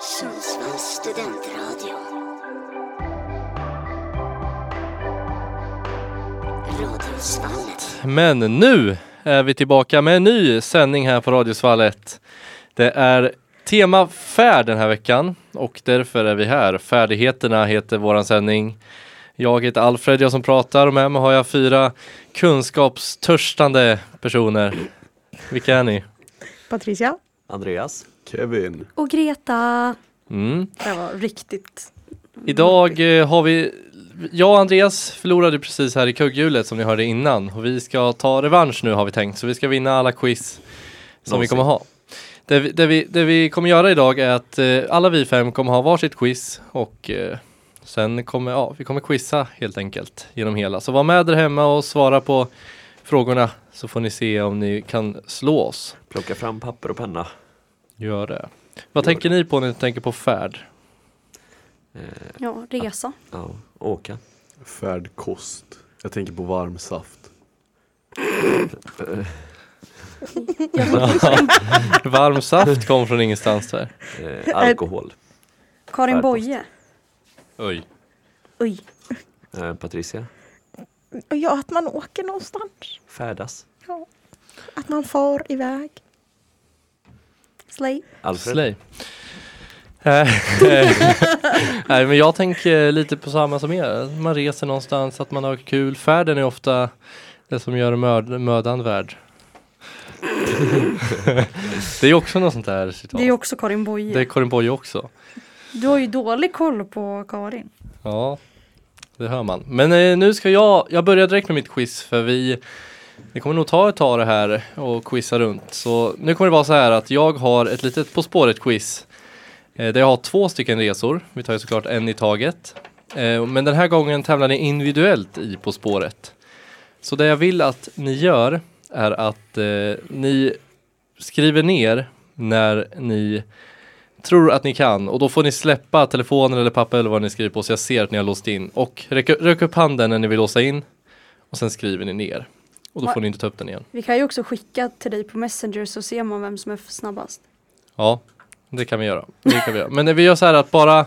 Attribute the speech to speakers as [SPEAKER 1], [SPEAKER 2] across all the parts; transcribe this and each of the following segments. [SPEAKER 1] Sundsvalls studentradio. Radiosvallet.
[SPEAKER 2] Men nu är vi tillbaka med en ny sändning här på Radiosvallet. Det är tema färd den här veckan och därför är vi här. Färdigheterna heter våran sändning. Jag heter Alfred, jag som pratar och med mig har jag fyra kunskapstörstande personer. Vilka är ni?
[SPEAKER 3] Patricia.
[SPEAKER 4] Andreas.
[SPEAKER 5] Kevin.
[SPEAKER 6] Och Greta.
[SPEAKER 2] Mm.
[SPEAKER 3] Det här var riktigt.
[SPEAKER 2] Idag eh, har vi, jag och Andreas förlorade precis här i kugghjulet som ni hörde innan och vi ska ta revansch nu har vi tänkt så vi ska vinna alla quiz som vi
[SPEAKER 4] Någonsin.
[SPEAKER 2] kommer ha. Det vi, det, vi, det vi kommer göra idag är att eh, alla vi fem kommer ha varsitt quiz och eh, sen kommer ja, vi kommer quizza helt enkelt genom hela. Så var med där hemma och svara på frågorna så får ni se om ni kan slå oss.
[SPEAKER 4] Plocka fram papper och penna.
[SPEAKER 2] Gör det. Vad tänker ni på när ni tänker på färd?
[SPEAKER 6] Ja, resa.
[SPEAKER 4] Ja, åka.
[SPEAKER 5] Färdkost. Jag tänker på varm saft.
[SPEAKER 2] Varm saft kom från ingenstans där.
[SPEAKER 4] Eh, alkohol.
[SPEAKER 6] Karin
[SPEAKER 4] Färdkost.
[SPEAKER 6] Boye.
[SPEAKER 2] Oj.
[SPEAKER 3] Oj.
[SPEAKER 4] Eh, Patricia.
[SPEAKER 3] Ja, att man åker någonstans.
[SPEAKER 4] Färdas.
[SPEAKER 3] Ja. Att man far iväg.
[SPEAKER 6] Slay.
[SPEAKER 4] Alfred.
[SPEAKER 2] Slay. Eh, Nej men jag tänker eh, lite på samma som er. Man reser någonstans, att man har kul. Färden är ofta det som gör mörd- mödan värd. det är ju också något sånt där citat.
[SPEAKER 6] Det är ju också Karin Boye.
[SPEAKER 2] Det är Karin Boye också.
[SPEAKER 6] Du har ju dålig koll på Karin.
[SPEAKER 2] Ja, det hör man. Men eh, nu ska jag, jag börjar direkt med mitt quiz för vi, vi kommer nog ta ett tag det här och quizza runt. Så nu kommer det vara så här att jag har ett litet På spåret-quiz. Eh, där jag har två stycken resor. Vi tar ju såklart en i taget. Eh, men den här gången tävlar ni individuellt i På spåret. Så det jag vill att ni gör är att eh, ni skriver ner när ni tror att ni kan och då får ni släppa telefonen eller papper eller vad ni skriver på så jag ser att ni har låst in och räck, räck upp handen när ni vill låsa in och sen skriver ni ner och då får ni inte ta upp den igen.
[SPEAKER 6] Vi kan ju också skicka till dig på Messenger så ser man vem som är snabbast.
[SPEAKER 2] Ja, det kan vi göra. Det kan vi göra. Men när vi gör så här att bara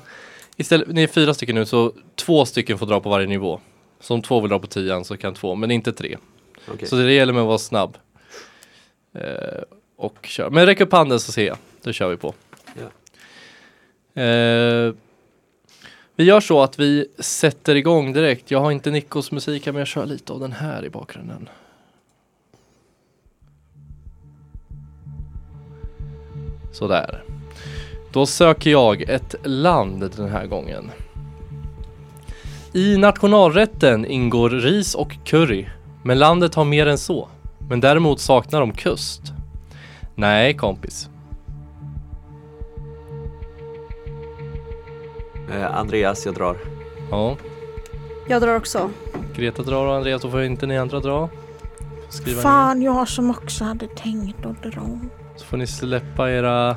[SPEAKER 2] istället, ni är fyra stycken nu så två stycken får dra på varje nivå. Så om två vill dra på tian så kan två, men inte tre.
[SPEAKER 4] Okej.
[SPEAKER 2] Så det gäller med att vara snabb. Eh, och kör. Men räck upp handen så ser jag. Då kör vi på. Eh, vi gör så att vi sätter igång direkt. Jag har inte Nickos musik här men jag kör lite av den här i bakgrunden. Sådär. Då söker jag ett land den här gången. I nationalrätten ingår ris och curry. Men landet har mer än så. Men däremot saknar de kust. Nej kompis.
[SPEAKER 4] Eh, Andreas, jag drar.
[SPEAKER 2] Ja.
[SPEAKER 6] Jag drar också.
[SPEAKER 2] Greta drar och Andreas, då får inte ni andra dra. Får Skriva ner.
[SPEAKER 3] Fan, jag som också hade tänkt att dra.
[SPEAKER 2] Så får ni släppa era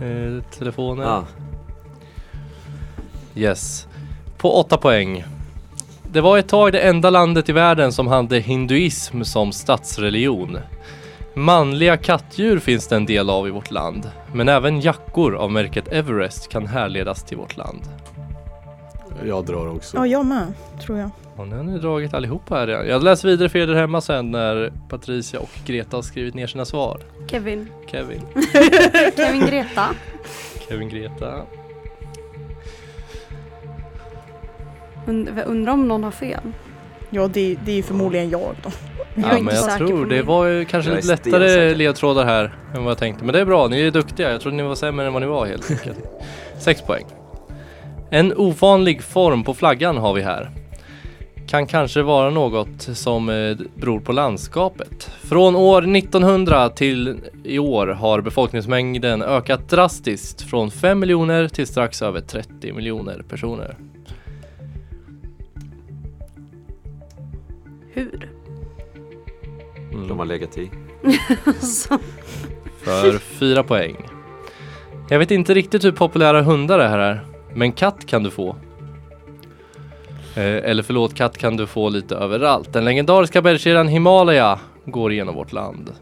[SPEAKER 2] eh, telefoner.
[SPEAKER 4] Ja,
[SPEAKER 2] Yes. På åtta poäng. Det var ett tag det enda landet i världen som hade hinduism som statsreligion. Manliga kattdjur finns det en del av i vårt land, men även jackor av märket Everest kan härledas till vårt land.
[SPEAKER 5] Jag drar också.
[SPEAKER 3] Ja, jag med, tror jag.
[SPEAKER 2] Och nu har ni dragit allihopa här redan. Jag läser vidare för er där hemma sen när Patricia och Greta har skrivit ner sina svar.
[SPEAKER 6] Kevin.
[SPEAKER 2] Kevin.
[SPEAKER 6] Kevin Greta.
[SPEAKER 2] Kevin Greta.
[SPEAKER 6] Und- undrar om någon har fel.
[SPEAKER 3] Ja, det, det är ju förmodligen jag då.
[SPEAKER 6] Jag är
[SPEAKER 2] Ja,
[SPEAKER 6] inte
[SPEAKER 2] men jag
[SPEAKER 6] säker
[SPEAKER 2] tror
[SPEAKER 6] på
[SPEAKER 2] det
[SPEAKER 6] min.
[SPEAKER 2] var ju kanske
[SPEAKER 4] Jag
[SPEAKER 2] lite
[SPEAKER 4] är
[SPEAKER 2] lättare
[SPEAKER 4] stensäker.
[SPEAKER 2] ledtrådar här än vad jag tänkte. Men det är bra, ni är duktiga. Jag trodde ni var sämre än vad ni var helt enkelt. Sex poäng. En ovanlig form på flaggan har vi här. Kan kanske vara något som eh, beror på landskapet. Från år 1900 till i år har befolkningsmängden ökat drastiskt från 5 miljoner till strax över 30 miljoner personer.
[SPEAKER 6] Hur?
[SPEAKER 4] de har legat i.
[SPEAKER 2] för fyra poäng. Jag vet inte riktigt hur populära hundar det här är, men katt kan du få. Eh, eller förlåt, katt kan du få lite överallt. Den legendariska bergskedjan Himalaya går genom vårt land.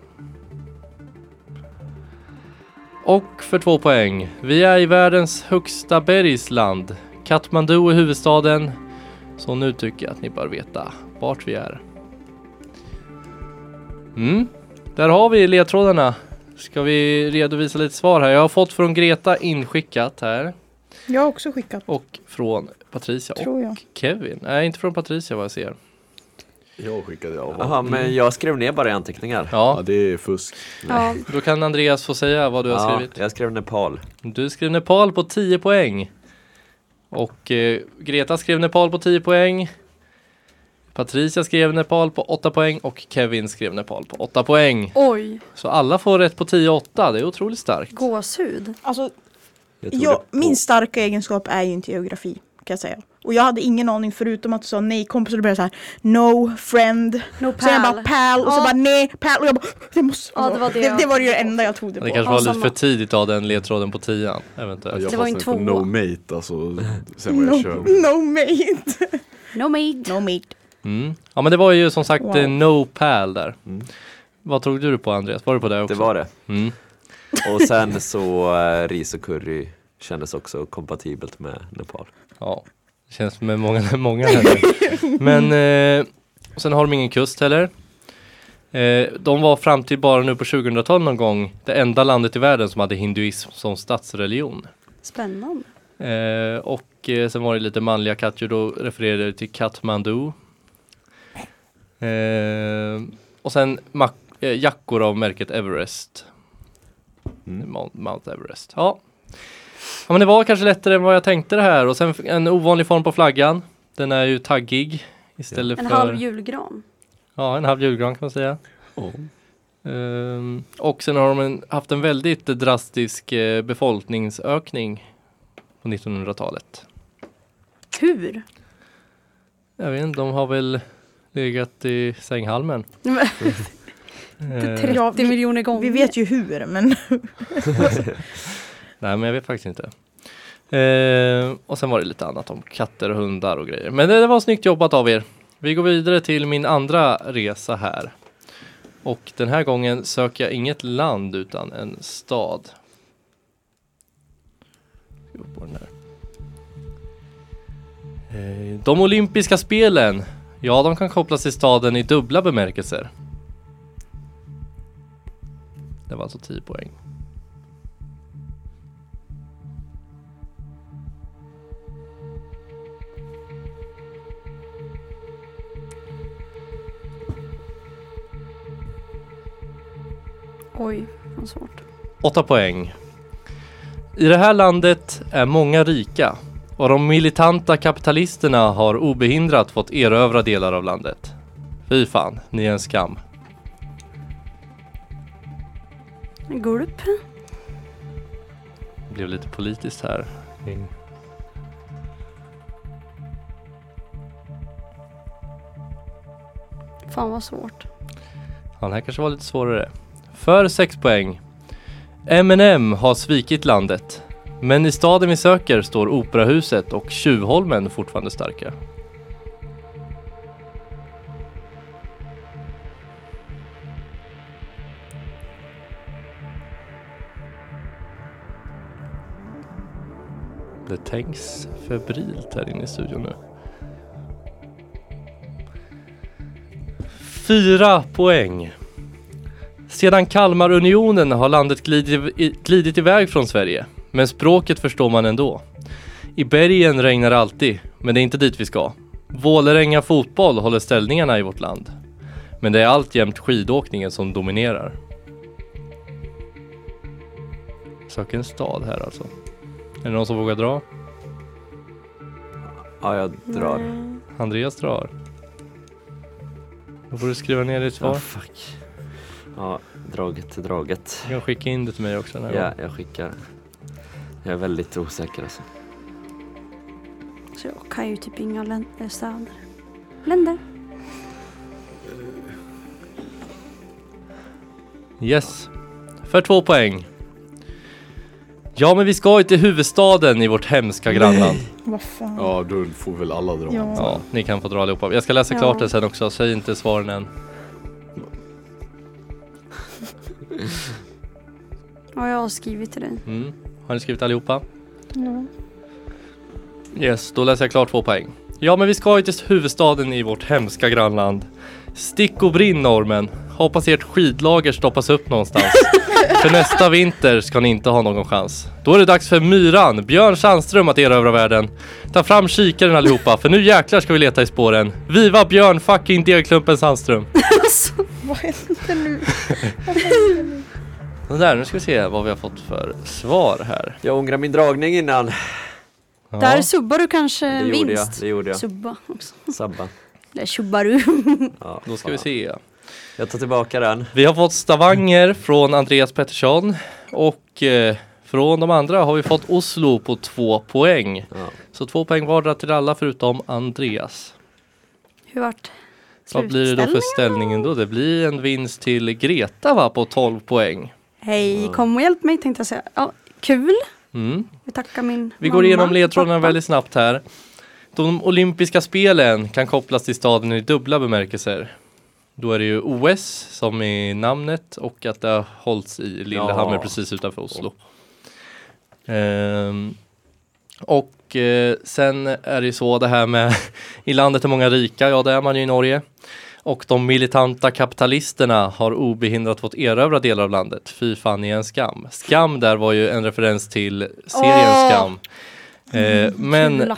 [SPEAKER 2] Och för två poäng. Vi är i världens högsta bergsland. Katmandu är huvudstaden. Så nu tycker jag att ni bör veta vart vi är. Mm. Där har vi ledtrådarna. Ska vi redovisa lite svar här? Jag har fått från Greta inskickat här.
[SPEAKER 3] Jag har också skickat,
[SPEAKER 2] Och från Patricia och
[SPEAKER 3] tror jag.
[SPEAKER 2] Kevin. Nej, inte från Patricia vad jag ser.
[SPEAKER 5] Jag skickade jag.
[SPEAKER 4] Jaha, men jag skrev ner bara i anteckningar.
[SPEAKER 5] Ja,
[SPEAKER 2] Mm. Ja,
[SPEAKER 5] det är fusk.
[SPEAKER 6] Ja,
[SPEAKER 2] då kan Andreas få säga vad du har
[SPEAKER 4] Ja,
[SPEAKER 2] skrivit.
[SPEAKER 4] jag skrev Nepal.
[SPEAKER 2] Du skrev Nepal på 10 poäng. Och eh, Greta skrev Nepal på 10 poäng. Patricia skrev Nepal på 8 poäng och Kevin skrev Nepal på 8 poäng.
[SPEAKER 6] oj,
[SPEAKER 2] Så alla får rätt på 10 och 8. Det är otroligt starkt.
[SPEAKER 6] gåshud.
[SPEAKER 3] Alltså,
[SPEAKER 4] Jag tog
[SPEAKER 3] jag,
[SPEAKER 4] det på-
[SPEAKER 3] min starka egenskap är ju inte geografi, kan jag säga. Och jag hade ingen aning förutom att du sa nej kompis och du började så här no friend.
[SPEAKER 6] No
[SPEAKER 3] Så jag bara
[SPEAKER 6] pal.
[SPEAKER 3] pal och så
[SPEAKER 6] Ja.
[SPEAKER 3] bara nej pal och jag bara det måste
[SPEAKER 6] Ja, det var det
[SPEAKER 3] det,
[SPEAKER 6] jag-
[SPEAKER 3] var ju det enda jag tog det på.
[SPEAKER 2] Det kanske
[SPEAKER 6] Ja,
[SPEAKER 2] var lite
[SPEAKER 6] samma.
[SPEAKER 2] för tidigt av den ledtråden på 10
[SPEAKER 5] Ja,
[SPEAKER 2] eventuellt.
[SPEAKER 5] jag
[SPEAKER 6] Det var en
[SPEAKER 5] fastnade för
[SPEAKER 6] tvåa.
[SPEAKER 5] No mate alltså. Sen var jag
[SPEAKER 3] No,
[SPEAKER 5] körd.
[SPEAKER 3] no mate.
[SPEAKER 6] No meat.
[SPEAKER 3] No mate.
[SPEAKER 2] Mm. Ja men det var ju som sagt
[SPEAKER 3] Wow.
[SPEAKER 2] eh, no pal där. Vad tog du på Andreas? Var du på det också?
[SPEAKER 4] Mm. Det var det.
[SPEAKER 2] Mm.
[SPEAKER 4] Och sen så eh, ris och curry kändes också kompatibelt med Nepal.
[SPEAKER 2] Ja, det känns som med många, många här. Men eh, och sen har de ingen kust heller. Eh, de var fram till bara nu på 2000-talet någon gång det enda landet i världen som hade hinduism som statsreligion.
[SPEAKER 6] Spännande.
[SPEAKER 2] Eh, och eh, sen var det lite manliga katter, då refererade jag till Katmandu. Eh, och sen mak- eh, jackor av märket Everest. Mount- Mount Everest. Ja. ja, men det var kanske lättare än vad jag tänkte det här. Och sen f- en ovanlig form på flaggan. Den är ju taggig istället
[SPEAKER 6] En
[SPEAKER 2] för
[SPEAKER 6] halv julgran.
[SPEAKER 2] ja, en halv julgran kan man säga. Ehm, och sen har de en, haft en väldigt drastisk eh, befolkningsökning på 1900-talet.
[SPEAKER 4] Eh,
[SPEAKER 6] Hur?
[SPEAKER 2] Jag vet inte, de har väl legat i sänghalmen. Eh,
[SPEAKER 6] 30
[SPEAKER 3] Ja, vi-
[SPEAKER 6] miljoner gånger.
[SPEAKER 3] Vi vet ju hur men
[SPEAKER 2] nej, men jag vet faktiskt inte. Eh, och sen var det lite annat om katter och hundar och grejer. Men det, det var snyggt jobbat av er. Vi går vidare till min andra resa här. Och den här gången söker jag inget land utan en stad. Ska gå på den här. Eh, De olympiska spelen. Ja, de kan kopplas till staden i dubbla bemärkelser. Det var alltså 10 poäng.
[SPEAKER 6] Oj, vad svårt.
[SPEAKER 2] 8 poäng. I det här landet är många rika och de militanta kapitalisterna har obehindrat fått erövra delar av landet. Fy fan, ni är en skam.
[SPEAKER 6] Gulp.
[SPEAKER 2] Det blev lite politiskt här.
[SPEAKER 6] Fan vad svårt.
[SPEAKER 2] Ja, Den här kanske var lite svårare. För 6 poäng. M&M har svikit landet. Men i staden vi söker står operahuset och Tjuvholmen fortfarande starka. Det tänks febrilt här inne i studion nu. Fyra poäng. Sedan Kalmarunionen har landet glidit, i- glidit iväg från Sverige, men språket förstår man ändå. I bergen regnar det alltid, men det är inte dit vi ska. Vålerenga fotboll håller ställningarna i vårt land, men det är alltjämt skidåkningen som dominerar. Sök en stad här alltså. Är det någon som vågar dra?
[SPEAKER 4] Ja, jag drar.
[SPEAKER 2] Mm. Andreas drar. Då får du skriva ner ditt
[SPEAKER 4] Ja,
[SPEAKER 2] svar.
[SPEAKER 4] fuck. Ja, draget till draget.
[SPEAKER 2] Du kan skicka in det till mig också. den här
[SPEAKER 4] Ja,
[SPEAKER 2] gången.
[SPEAKER 4] jag skickar. Jag är väldigt osäker alltså.
[SPEAKER 6] Så jag kan ju typ inga län- eh, städer. Länder.
[SPEAKER 2] Yes. För två poäng. Ja, men vi ska ju till huvudstaden i vårt hemska grannland.
[SPEAKER 3] vad fan.
[SPEAKER 5] Ja, då får väl alla dra.
[SPEAKER 3] Ja.
[SPEAKER 2] Ja, ni kan få dra allihopa. Jag ska läsa
[SPEAKER 6] Ja.
[SPEAKER 2] klart det sen också. Säg inte svaren än.
[SPEAKER 6] Ja, jag har skrivit till dig.
[SPEAKER 2] Mm. Har ni skrivit allihopa?
[SPEAKER 3] Ja.
[SPEAKER 2] Yes, då läser jag klart två poäng. Ja, men vi ska ju till huvudstaden i vårt hemska grannland. Stick och brinn norrmän. Hoppas ert skidlager stoppas upp någonstans. för nästa vinter ska ni inte ha någon chans. Då är det dags för Myran, Björn Sandström att erövra världen. Ta fram kikaren allihopa, för nu jäklar ska vi leta i spåren. Viva Björn fucking Degklumpen Sandström!
[SPEAKER 3] Vad händer nu?
[SPEAKER 2] Så Där, nu ska vi se vad vi har fått för svar här.
[SPEAKER 4] Jag ångrar min dragning
[SPEAKER 6] Eh,
[SPEAKER 4] innan.
[SPEAKER 2] Ja.
[SPEAKER 6] Där subbar du kanske
[SPEAKER 4] Det
[SPEAKER 6] en
[SPEAKER 4] gjorde jag.
[SPEAKER 6] vinst.
[SPEAKER 4] Det gjorde jag.
[SPEAKER 6] Subba också.
[SPEAKER 4] Sabba.
[SPEAKER 6] Eller tjubbar du.
[SPEAKER 4] Ja,
[SPEAKER 2] Då ska vi
[SPEAKER 4] fan.
[SPEAKER 2] se.
[SPEAKER 4] Jag tar tillbaka den.
[SPEAKER 2] Vi har fått Stavanger från Andreas Pettersson och eh, från de andra har vi fått Oslo på två poäng.
[SPEAKER 4] Ja.
[SPEAKER 2] Så två poäng vardera till alla förutom Andreas.
[SPEAKER 6] Hur vart
[SPEAKER 2] Vad blir det då för
[SPEAKER 6] slutställningen?
[SPEAKER 2] ställningen då? Det blir en vinst till Greta va på 12 poäng.
[SPEAKER 6] Hej, kom och hjälp mig tänkte jag säga. Ja, kul.
[SPEAKER 2] Mm.
[SPEAKER 6] Vi tackar min
[SPEAKER 2] Vi
[SPEAKER 6] mamma,
[SPEAKER 2] går igenom ledtrådarna
[SPEAKER 6] pappa.
[SPEAKER 2] väldigt snabbt här. De olympiska spelen kan kopplas till staden i dubbla bemärkelser. Då är det ju OS som är namnet och att det har hållits i Lillehammer
[SPEAKER 4] Ja.
[SPEAKER 2] precis utanför Oslo. Ehm, och eh, sen är det ju så det här med i landet är många rika, ja det är man ju i Norge. Och de militanta kapitalisterna har obehindrat fått erövra delar av landet. Fy fan i en skam. Skam där var ju en referens till serien
[SPEAKER 6] Åh!
[SPEAKER 2] Skam. Eh, men
[SPEAKER 6] Kula.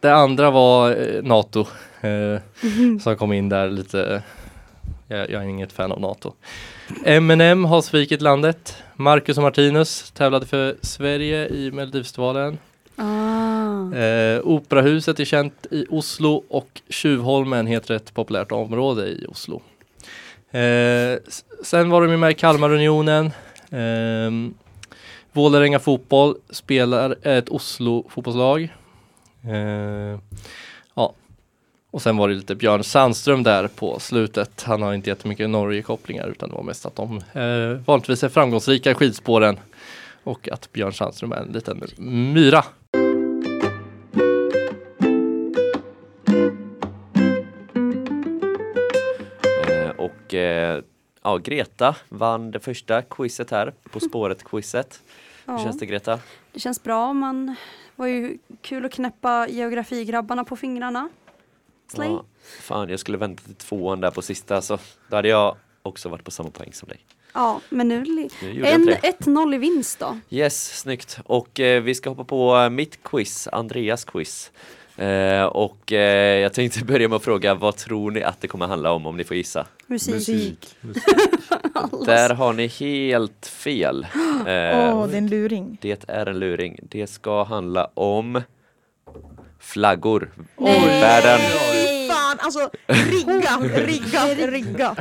[SPEAKER 2] det andra var eh, NATO eh, som kom in där lite. eh, Jag, jag är inget fan av NATO. M&M har svikit landet. Marcus och Martinus tävlade för Sverige i Melodifestivalen.
[SPEAKER 6] Ah.
[SPEAKER 2] Eh, operahuset är känt i Oslo och Tjuvholmen heter ett populärt område i Oslo. Eh, s- sen var de ju med i Kalmarunionen. Eh, Vålerenga fotboll spelar ett Oslo fotbollslag. Eh, ja. Och sen var det lite Björn Sandström där på slutet. Han har inte jättemycket Norge-kopplingar utan det var mest att de eh, vanligtvis är framgångsrika i skidspåren. Och att Björn Sandström är en liten myra.
[SPEAKER 4] Eh, och eh, ja, Greta vann det första quizet här, På spåret-quizet.
[SPEAKER 2] Eh,
[SPEAKER 4] Hur
[SPEAKER 6] Ja.
[SPEAKER 4] känns det Greta?
[SPEAKER 6] Det känns bra. Man var ju kul att knäppa geografigrabbarna på fingrarna. Slay.
[SPEAKER 4] Ja, fan, jag skulle vänta till tvåan där på sista så då hade jag också varit på samma poäng som dig.
[SPEAKER 6] Ja, men nu... li-
[SPEAKER 4] Nu gjorde jag
[SPEAKER 6] En
[SPEAKER 4] inte det.
[SPEAKER 6] 1-0 i vinst då.
[SPEAKER 4] Yes, snyggt. Och eh, vi ska hoppa på eh, mitt quiz, Andreas quiz. Eh, och eh, jag tänkte börja med att fråga vad tror ni att det kommer handla om om ni får gissa?
[SPEAKER 6] Musik.
[SPEAKER 4] Där har ni helt fel.
[SPEAKER 3] Åh,
[SPEAKER 4] Eh,
[SPEAKER 3] det är en luring.
[SPEAKER 4] Det är en luring. Det ska handla om flaggor.
[SPEAKER 6] Nej.
[SPEAKER 4] i Världen.
[SPEAKER 6] Nej.
[SPEAKER 3] Fan, alltså rigga, rigga, rigga.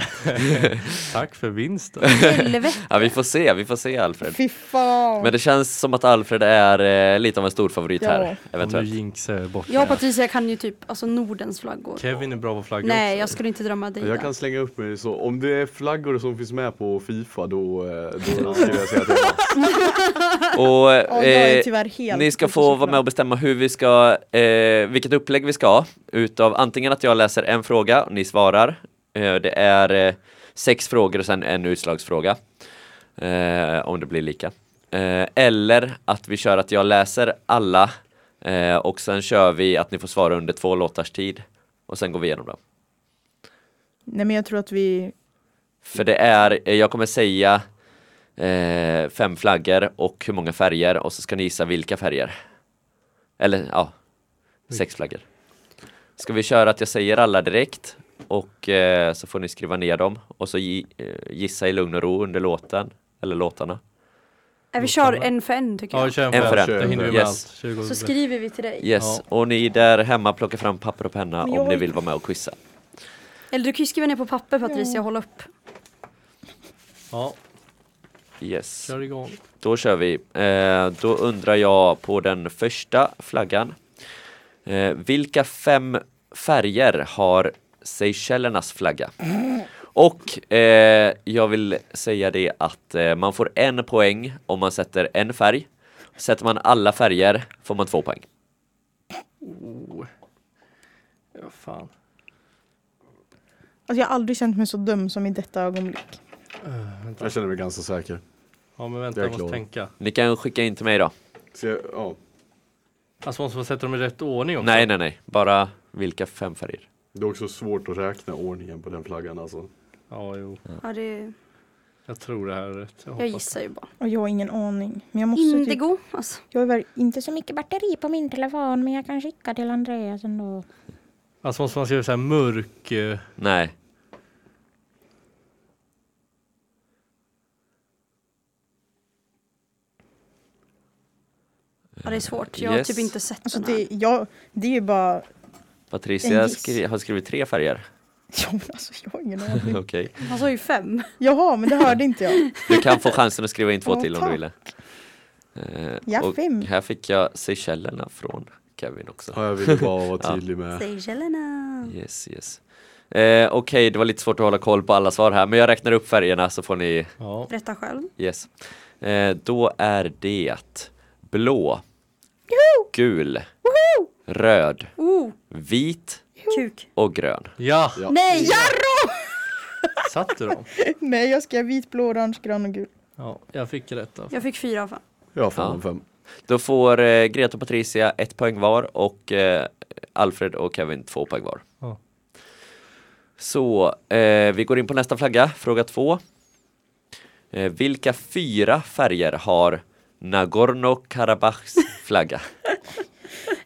[SPEAKER 2] Tack för vinsten.
[SPEAKER 6] Helvete.
[SPEAKER 4] Ja, vi får se, vi får se Alfred.
[SPEAKER 3] Fy fan.
[SPEAKER 4] Men det känns som att Alfred är eh, lite av en stor favorit
[SPEAKER 3] Ja.
[SPEAKER 4] här,
[SPEAKER 2] Om du
[SPEAKER 4] eventuellt.
[SPEAKER 2] jinxar jag är borta.
[SPEAKER 6] Jag och Patricia kan ju typ alltså Nordens flaggor.
[SPEAKER 2] Kevin är bra på flaggor
[SPEAKER 6] Nej,
[SPEAKER 2] också.
[SPEAKER 6] jag skulle inte drömma dig Äh,
[SPEAKER 5] Jag
[SPEAKER 6] där.
[SPEAKER 5] kan slänga upp mig så. Om det är flaggor som finns med på Fifa då, eh, då skulle jag säga att det är
[SPEAKER 4] Och
[SPEAKER 3] Åh, jag är
[SPEAKER 4] eh,
[SPEAKER 3] tyvärr helt
[SPEAKER 4] ni
[SPEAKER 3] ute
[SPEAKER 4] ska
[SPEAKER 3] och
[SPEAKER 4] få vara med
[SPEAKER 3] cyklar.
[SPEAKER 4] och bestämma hur vi ska, eh, vilket upplägg vi ska ha. Utav antingen att jag läser en fråga och ni svarar. Eh, det är eh, sex frågor och sen en utslagsfråga. Eh, om det blir lika. Eh, eller att vi kör att jag läser alla eh, och sen kör vi att ni får svara under två låtars tid. Och sen går vi igenom dem.
[SPEAKER 3] Nej men jag tror att vi...
[SPEAKER 4] För det är, eh, jag kommer säga eh, fem flaggor och hur många färger och så ska ni gissa vilka färger. Eller ja, sex flaggor. Ska vi köra att jag säger alla direkt och eh, så får ni skriva ner dem och så gi- eh, gissa i lugn och ro under låten eller låtarna.
[SPEAKER 6] Nej, vi kör en för en tycker
[SPEAKER 2] Ja, vi
[SPEAKER 6] jag.
[SPEAKER 2] kör en
[SPEAKER 4] En
[SPEAKER 2] för
[SPEAKER 4] för
[SPEAKER 2] en.
[SPEAKER 5] en.
[SPEAKER 2] Då hinner vi med
[SPEAKER 4] Yes.
[SPEAKER 2] allt. 20
[SPEAKER 6] Så skriver vi till dig.
[SPEAKER 4] Yes, och ni där hemma plockar fram papper och penna
[SPEAKER 3] Men jag
[SPEAKER 4] om ni
[SPEAKER 3] vill-
[SPEAKER 4] vill vara med och quizza.
[SPEAKER 6] Eller du kan ju skriva ner på papper Patricia och hålla upp.
[SPEAKER 2] Ja,
[SPEAKER 4] Yes,
[SPEAKER 2] kör igång.
[SPEAKER 4] då kör vi. Eh, då undrar jag på den första flaggan. Eh, vilka fem färger har Seychellernas flagga? Och eh, jag vill säga det att eh, man får en poäng om man sätter en färg. Sätter man alla färger får man två poäng.
[SPEAKER 2] Ja, fan.
[SPEAKER 3] Alltså jag har aldrig känt mig så dum som i detta ögonblick.
[SPEAKER 5] Jag känner mig ganska säker.
[SPEAKER 2] Ja men vänta,
[SPEAKER 5] Jag
[SPEAKER 2] jag
[SPEAKER 5] är
[SPEAKER 2] måste
[SPEAKER 5] klar.
[SPEAKER 2] tänka.
[SPEAKER 4] Ni kan skicka in till mig då.
[SPEAKER 5] Så jag, ja.
[SPEAKER 2] Alltså måste man sätta dem i rätt ordning också?
[SPEAKER 4] Nej, nej, nej. Bara vilka fem färger?
[SPEAKER 5] Det är också svårt att räkna ordningen på den flaggan alltså.
[SPEAKER 2] Ja, jo.
[SPEAKER 6] Ja, det,
[SPEAKER 2] Jag tror det här är rätt. Jag
[SPEAKER 6] jag
[SPEAKER 2] hoppas.
[SPEAKER 6] gissar ju bara.
[SPEAKER 3] Och jag har ingen aning. Men jag måste typ...
[SPEAKER 6] Indigo, alltså.
[SPEAKER 3] Jag har väl inte så mycket batteri på min telefon men jag kan skicka till Andreas ändå.
[SPEAKER 2] Alltså måste man skriva så här mörk... eh,
[SPEAKER 4] Nej.
[SPEAKER 6] Ja, det är svårt. Jag har
[SPEAKER 4] Yes.
[SPEAKER 6] typ inte sett
[SPEAKER 3] Alltså
[SPEAKER 6] den här.
[SPEAKER 3] det, jag, det är ju bara...
[SPEAKER 4] Patricia
[SPEAKER 3] En giss.
[SPEAKER 4] skri- har skrivit tre färger.
[SPEAKER 3] Ja, men alltså, jag har ingen aning.
[SPEAKER 4] Okej.
[SPEAKER 6] Han sa ju fem.
[SPEAKER 3] Jaha, men det hörde inte jag.
[SPEAKER 4] Du kan få chansen att skriva in två
[SPEAKER 3] Ja,
[SPEAKER 4] till om du
[SPEAKER 3] tack.
[SPEAKER 4] ville. Eh,
[SPEAKER 3] Ja,
[SPEAKER 4] och
[SPEAKER 3] fem.
[SPEAKER 4] här fick jag Seychellerna från Kevin också.
[SPEAKER 5] Ja, jag ville bara vara tydlig med.
[SPEAKER 6] Seychellerna.
[SPEAKER 4] Yes, yes. Eh, Okej, det var lite svårt att hålla koll på alla svar här, men jag räknar upp färgerna så får ni
[SPEAKER 2] Ja.
[SPEAKER 6] Berätta själv.
[SPEAKER 4] Yes. Eh, då är det blå, gul, röd,
[SPEAKER 6] Oh,
[SPEAKER 4] vit
[SPEAKER 6] kuk.
[SPEAKER 4] och grön.
[SPEAKER 2] Ja,
[SPEAKER 5] Ja.
[SPEAKER 6] Nej!
[SPEAKER 2] satte du dem?
[SPEAKER 3] Nej, jag skrev vit, blå, orange, grön och gul.
[SPEAKER 2] Ja, jag fick rätt då.
[SPEAKER 6] Jag fick fyra av fem.
[SPEAKER 5] Ja, fem
[SPEAKER 4] Ja.
[SPEAKER 5] av fem.
[SPEAKER 4] Då får eh, Greta och Patricia ett poäng var och eh, Alfred och Kevin två poäng var.
[SPEAKER 2] Ja.
[SPEAKER 4] Så eh, vi går in på nästa flagga, fråga två. Eh, vilka fyra färger har Nagorno-Karabachs flagga?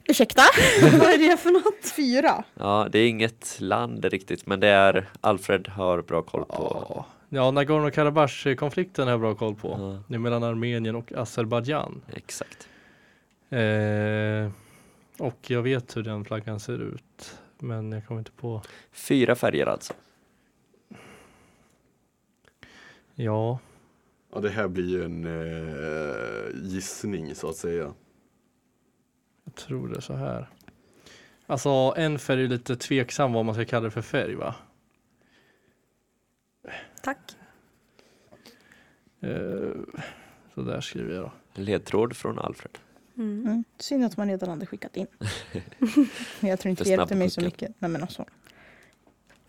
[SPEAKER 3] Ursäkta?
[SPEAKER 6] Vad är det för något?
[SPEAKER 3] Fyra.
[SPEAKER 4] Ja, det är inget land riktigt, men det är Alfred har bra koll på.
[SPEAKER 2] Ja, Nagorno-Karabach-konflikten har jag bra koll på.
[SPEAKER 4] Ja.
[SPEAKER 2] Det är mellan Armenien och Azerbajdzjan.
[SPEAKER 4] Exakt.
[SPEAKER 2] Eh, och jag vet hur den flaggan ser ut. Men jag kommer inte på.
[SPEAKER 4] Fyra färger alltså.
[SPEAKER 2] Ja,
[SPEAKER 5] Ja, det här blir ju en eh, gissning så att säga.
[SPEAKER 2] jag tror det är så här. Alltså en färg är lite tveksam vad man ska kalla det för färg va?
[SPEAKER 6] Tack.
[SPEAKER 2] Eh, så där skriver jag då.
[SPEAKER 4] Ledtråd från Alfred.
[SPEAKER 6] Mm.
[SPEAKER 3] Mm. Synd att man redan hade skickat in. men jag tror inte
[SPEAKER 4] För
[SPEAKER 3] det hjälpte mig så
[SPEAKER 4] snabbpucken.
[SPEAKER 3] mycket. Nej, men alltså.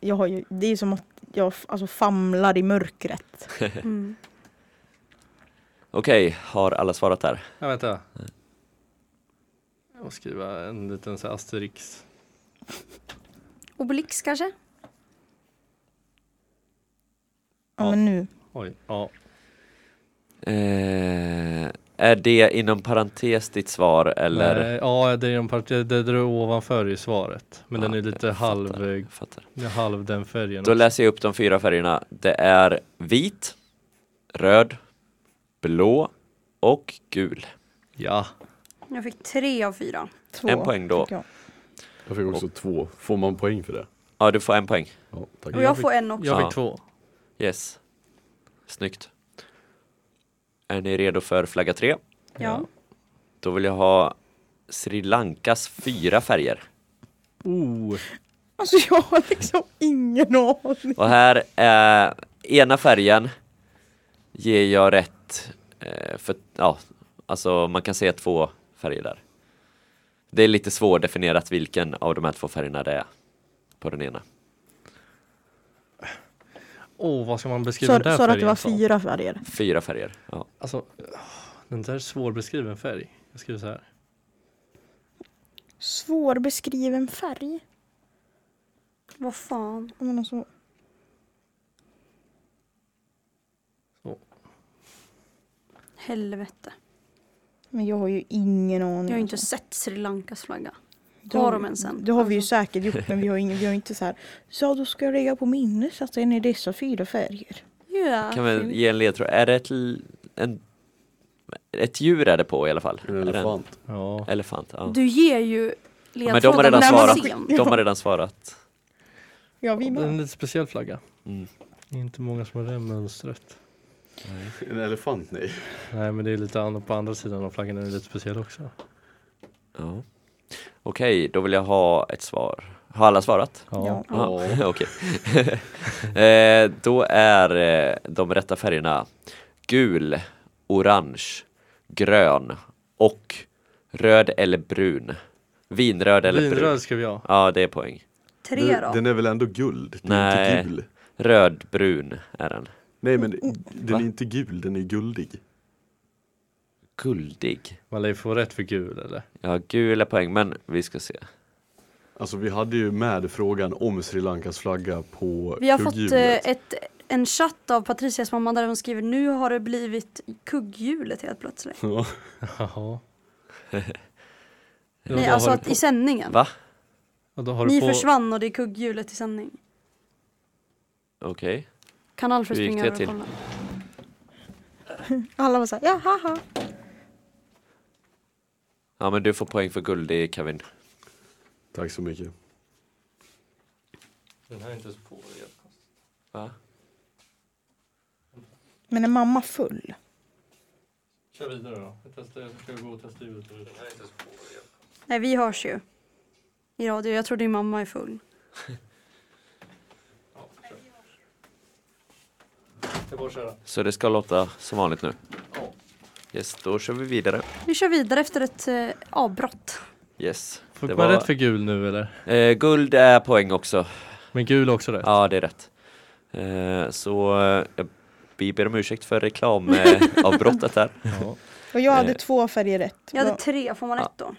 [SPEAKER 3] Jag har ju, det är som att jag f- alltså, famlar i mörkret.
[SPEAKER 6] Mm.
[SPEAKER 4] Okej, har alla svarat där?
[SPEAKER 2] Ja, vänta. Och skriva en liten så här asterix.
[SPEAKER 6] Obelix kanske?
[SPEAKER 3] Ja,
[SPEAKER 2] Ja.
[SPEAKER 3] men nu.
[SPEAKER 2] Oj, ja.
[SPEAKER 4] Eh, är det inom parentes ditt svar eller?
[SPEAKER 2] Nej, ja, det är en part, det, det är ovanför i svaret. Men
[SPEAKER 4] Ja,
[SPEAKER 2] den är lite
[SPEAKER 4] Ah, jag fattar,
[SPEAKER 2] halv,
[SPEAKER 4] jag fattar.
[SPEAKER 2] ja, halv den färgen.
[SPEAKER 4] Då
[SPEAKER 2] också.
[SPEAKER 4] läser jag upp de fyra färgerna. Det är vit, röd, blå och gul.
[SPEAKER 2] Ja,
[SPEAKER 6] Jag fick tre av fyra.
[SPEAKER 3] Två,
[SPEAKER 4] En poäng då.
[SPEAKER 3] fick jag.
[SPEAKER 5] Jag fick också två. Får man poäng för det?
[SPEAKER 4] Ja, du får en poäng.
[SPEAKER 5] Ja, tack.
[SPEAKER 6] Och jag får en också.
[SPEAKER 2] jag fick
[SPEAKER 4] Ja.
[SPEAKER 2] två.
[SPEAKER 4] Yes. Snyggt. Är ni redo för flagga tre?
[SPEAKER 6] Ja.
[SPEAKER 4] Då vill jag ha Sri Lankas fyra färger.
[SPEAKER 2] Oh,
[SPEAKER 3] Alltså jag har liksom ingen aning.
[SPEAKER 4] Och här, eh, ena färgen ger jag rätt eh, för, ja, alltså man kan säga två färger där. Det är lite svårdefinierat vilken av de här två färgerna det är på den ena.
[SPEAKER 2] oh, vad ska man beskriva
[SPEAKER 3] Sa
[SPEAKER 2] den där
[SPEAKER 3] sa du att det
[SPEAKER 2] färgen
[SPEAKER 3] var
[SPEAKER 2] som?
[SPEAKER 3] fyra färger?
[SPEAKER 4] Fyra färger. Ja.
[SPEAKER 2] Alltså, åh, den där är svårbeskriven färg. Jag skriver så här.
[SPEAKER 3] Svårbeskriven färg.
[SPEAKER 6] Vad fan.
[SPEAKER 3] Ja, Men alltså,
[SPEAKER 6] Helvete.
[SPEAKER 3] men jag har ju ingen aning.
[SPEAKER 6] Jag har ju inte sett Sri Lankas flagga.
[SPEAKER 3] Det
[SPEAKER 6] Har de ens en? Alltså.
[SPEAKER 3] Det har vi ju säkert gjort men vi har, ingen, vi har inte så här. Så då ska jag lägga på minnes att den är dessa fyra färger.
[SPEAKER 6] Ja.
[SPEAKER 4] Kan vi ge en ledtråd? Är det ett, l- en, ett djur är det på i alla fall?
[SPEAKER 5] En
[SPEAKER 4] Är det
[SPEAKER 5] elefant.
[SPEAKER 2] Ja,
[SPEAKER 4] elefant ja.
[SPEAKER 6] Du ger ju
[SPEAKER 4] Men de har
[SPEAKER 6] ledtråden
[SPEAKER 4] redan
[SPEAKER 6] när man
[SPEAKER 4] svarat.
[SPEAKER 6] ser dem.
[SPEAKER 4] De har redan svarat.
[SPEAKER 3] Ja vi
[SPEAKER 2] den är en
[SPEAKER 3] med.
[SPEAKER 2] lite speciell flagga.
[SPEAKER 4] Mm.
[SPEAKER 2] Det är inte många som har det mönstret.
[SPEAKER 5] En elefant, nej.
[SPEAKER 2] Nej, men det är lite an- på andra sidan av flaggan. Den är lite speciell också.
[SPEAKER 4] Ja. Okej, då vill jag ha ett svar. Har alla svarat?
[SPEAKER 3] Ja.
[SPEAKER 4] Ja,
[SPEAKER 5] Ja.
[SPEAKER 4] okej. eh, då är eh, de rätta färgerna gul, orange, grön och röd eller brun. Vinröd eller brun.
[SPEAKER 2] Vinröd skrev jag.
[SPEAKER 4] Ja, det är poäng.
[SPEAKER 6] Tre
[SPEAKER 5] Den-
[SPEAKER 6] då?
[SPEAKER 5] Den är väl ändå guld? Den är
[SPEAKER 4] Nej.
[SPEAKER 5] inte gul.
[SPEAKER 4] Rödbrun är den.
[SPEAKER 5] Nej men den
[SPEAKER 6] Mm.
[SPEAKER 4] Va?
[SPEAKER 5] är inte gul, den är guldig.
[SPEAKER 4] Guldig.
[SPEAKER 2] Man lär ju få rätt för gul eller?
[SPEAKER 4] Ja, gula poäng, men vi ska se.
[SPEAKER 5] Alltså vi hade ju med frågan om Sri Lankas flagga på
[SPEAKER 6] Vi har fått
[SPEAKER 5] kugghjulet.
[SPEAKER 6] eh, ett, en chatt av Patricias mamma där hon skriver nu har det blivit kugghjulet helt plötsligt.
[SPEAKER 5] Ja.
[SPEAKER 2] Jaha. Ja,
[SPEAKER 6] Nej,
[SPEAKER 2] då
[SPEAKER 6] alltså
[SPEAKER 2] har du
[SPEAKER 6] att i sändningen.
[SPEAKER 4] Va?
[SPEAKER 2] på, då har du
[SPEAKER 6] Ni
[SPEAKER 2] på,
[SPEAKER 6] försvann och det är kugghjulet i sändning.
[SPEAKER 4] Okej.
[SPEAKER 6] Kan Alfred
[SPEAKER 4] Hur gick
[SPEAKER 6] springa
[SPEAKER 4] det
[SPEAKER 6] över och
[SPEAKER 4] till?
[SPEAKER 6] kolla?
[SPEAKER 3] Alla var såhär, ja haha.
[SPEAKER 4] Ja, men du får poäng för guldig, Kevin.
[SPEAKER 5] Tack så mycket.
[SPEAKER 2] Den här är inte ens på det.
[SPEAKER 4] Va?
[SPEAKER 3] Men är mamma full?
[SPEAKER 2] Kör vidare då. Jag, testar, jag ska gå och testa ut. Den här är inte ens på det.
[SPEAKER 6] Nej, vi hörs ju. I radio. Jag tror din mamma är full.
[SPEAKER 2] Det är bara att köra.
[SPEAKER 4] Så det ska låta som vanligt nu. Yes, då kör vi vidare.
[SPEAKER 6] Vi kör vidare efter ett eh, avbrott.
[SPEAKER 4] Yes.
[SPEAKER 2] Får
[SPEAKER 4] det
[SPEAKER 2] man
[SPEAKER 4] var-
[SPEAKER 2] rätt för gul nu eller?
[SPEAKER 4] Eh, guld är poäng också.
[SPEAKER 2] Men gul är också rätt.
[SPEAKER 4] Ja, det är rätt. Eh, så eh, jag- vi ber om ursäkt för reklamavbrottet här.
[SPEAKER 2] Ja.
[SPEAKER 3] Och jag hade
[SPEAKER 4] Eh.
[SPEAKER 3] två färger rätt.
[SPEAKER 6] Jag hade
[SPEAKER 3] Vad-
[SPEAKER 6] tre, får man
[SPEAKER 4] Ja.
[SPEAKER 6] ett då?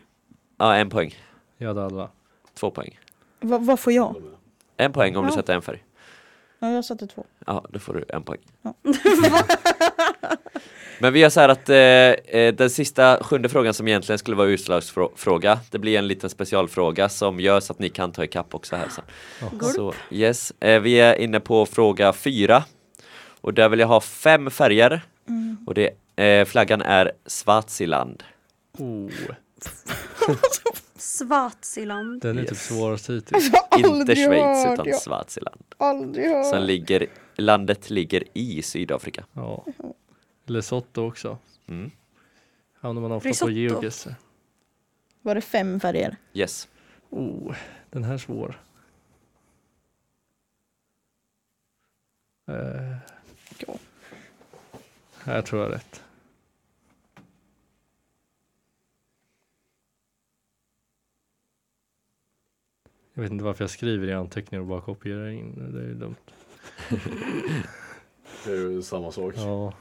[SPEAKER 4] Ja, en poäng.
[SPEAKER 2] Jag hade alla.
[SPEAKER 4] Två poäng.
[SPEAKER 3] vad- vad får jag?
[SPEAKER 4] En poäng om du
[SPEAKER 3] Ja.
[SPEAKER 4] sätter en färg.
[SPEAKER 3] Ja, jag satte två.
[SPEAKER 4] Ja, då får du en poäng.
[SPEAKER 3] Ja.
[SPEAKER 4] Men vi gör så här att eh, eh, den sista sjunde frågan som egentligen skulle vara utslagsfråga, det blir en liten specialfråga som gör så att ni kan ta ikapp också här sen. Så, yes. eh, vi är inne på fråga fyra och där vill jag ha fem färger
[SPEAKER 3] Mm.
[SPEAKER 4] och det, eh, flaggan är Swaziland.
[SPEAKER 2] Oh,
[SPEAKER 6] Swaziland.
[SPEAKER 2] den är
[SPEAKER 4] Yes.
[SPEAKER 2] typ svårast hittills.
[SPEAKER 4] Inte
[SPEAKER 3] Aldrig
[SPEAKER 4] Schweiz
[SPEAKER 3] hört,
[SPEAKER 4] utan
[SPEAKER 3] jag
[SPEAKER 4] Swaziland.
[SPEAKER 3] Aldrig hört.
[SPEAKER 4] Sen ligger, landet ligger i Sydafrika.
[SPEAKER 2] Ja. Lesotho också.
[SPEAKER 4] Mm.
[SPEAKER 2] Hamnar man ofta
[SPEAKER 6] Risotto.
[SPEAKER 2] på geogesser.
[SPEAKER 3] Var det fem färger?
[SPEAKER 4] Yes.
[SPEAKER 2] Oh, den här är svår. Eh,
[SPEAKER 3] Ja.
[SPEAKER 2] här tror jag rätt. Jag vet inte varför jag skriver i anteckningar och bara kopierar in. det. Det är ju dumt.
[SPEAKER 5] Det är ju samma sak.
[SPEAKER 2] Ja.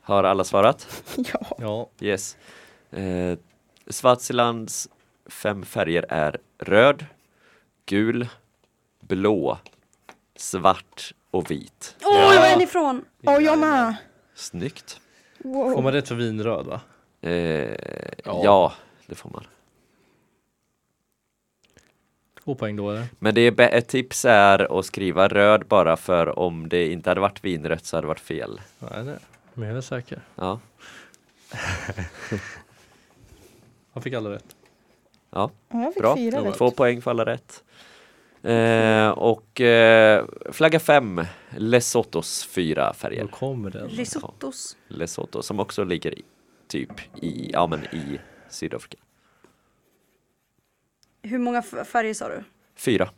[SPEAKER 4] Har alla svarat?
[SPEAKER 3] Ja.
[SPEAKER 2] ja.
[SPEAKER 4] Yes. Eh, Swazilands fem färger är röd, gul, blå, svart och vit.
[SPEAKER 6] Åh, jag var en ifrån!
[SPEAKER 3] Och jag med.
[SPEAKER 4] Snyggt.
[SPEAKER 2] Får
[SPEAKER 3] Wow.
[SPEAKER 2] man rätt för vinröd va?
[SPEAKER 4] Eh, ja.
[SPEAKER 5] Ja.
[SPEAKER 4] det får man.
[SPEAKER 2] Två poäng då eller?
[SPEAKER 4] Men det är bä- ett tips är att skriva röd bara för om det inte hade varit vinrött så hade det varit fel.
[SPEAKER 2] Nej, nej. Men jag är säker.
[SPEAKER 4] Ja,
[SPEAKER 2] Han fick alla rätt.
[SPEAKER 4] ja.
[SPEAKER 3] Ja, jag fick
[SPEAKER 4] Bra.
[SPEAKER 3] fyra rätt.
[SPEAKER 4] Två poäng för alla rätt. Eh, och eh, flagga fem, Lesothos fyra färger.
[SPEAKER 2] Då kommer den.
[SPEAKER 6] Risottos.
[SPEAKER 4] Lesotho som också ligger i, typ i, ja men i Sydafrika.
[SPEAKER 6] Hur många f- färger sa du?
[SPEAKER 4] Fyra.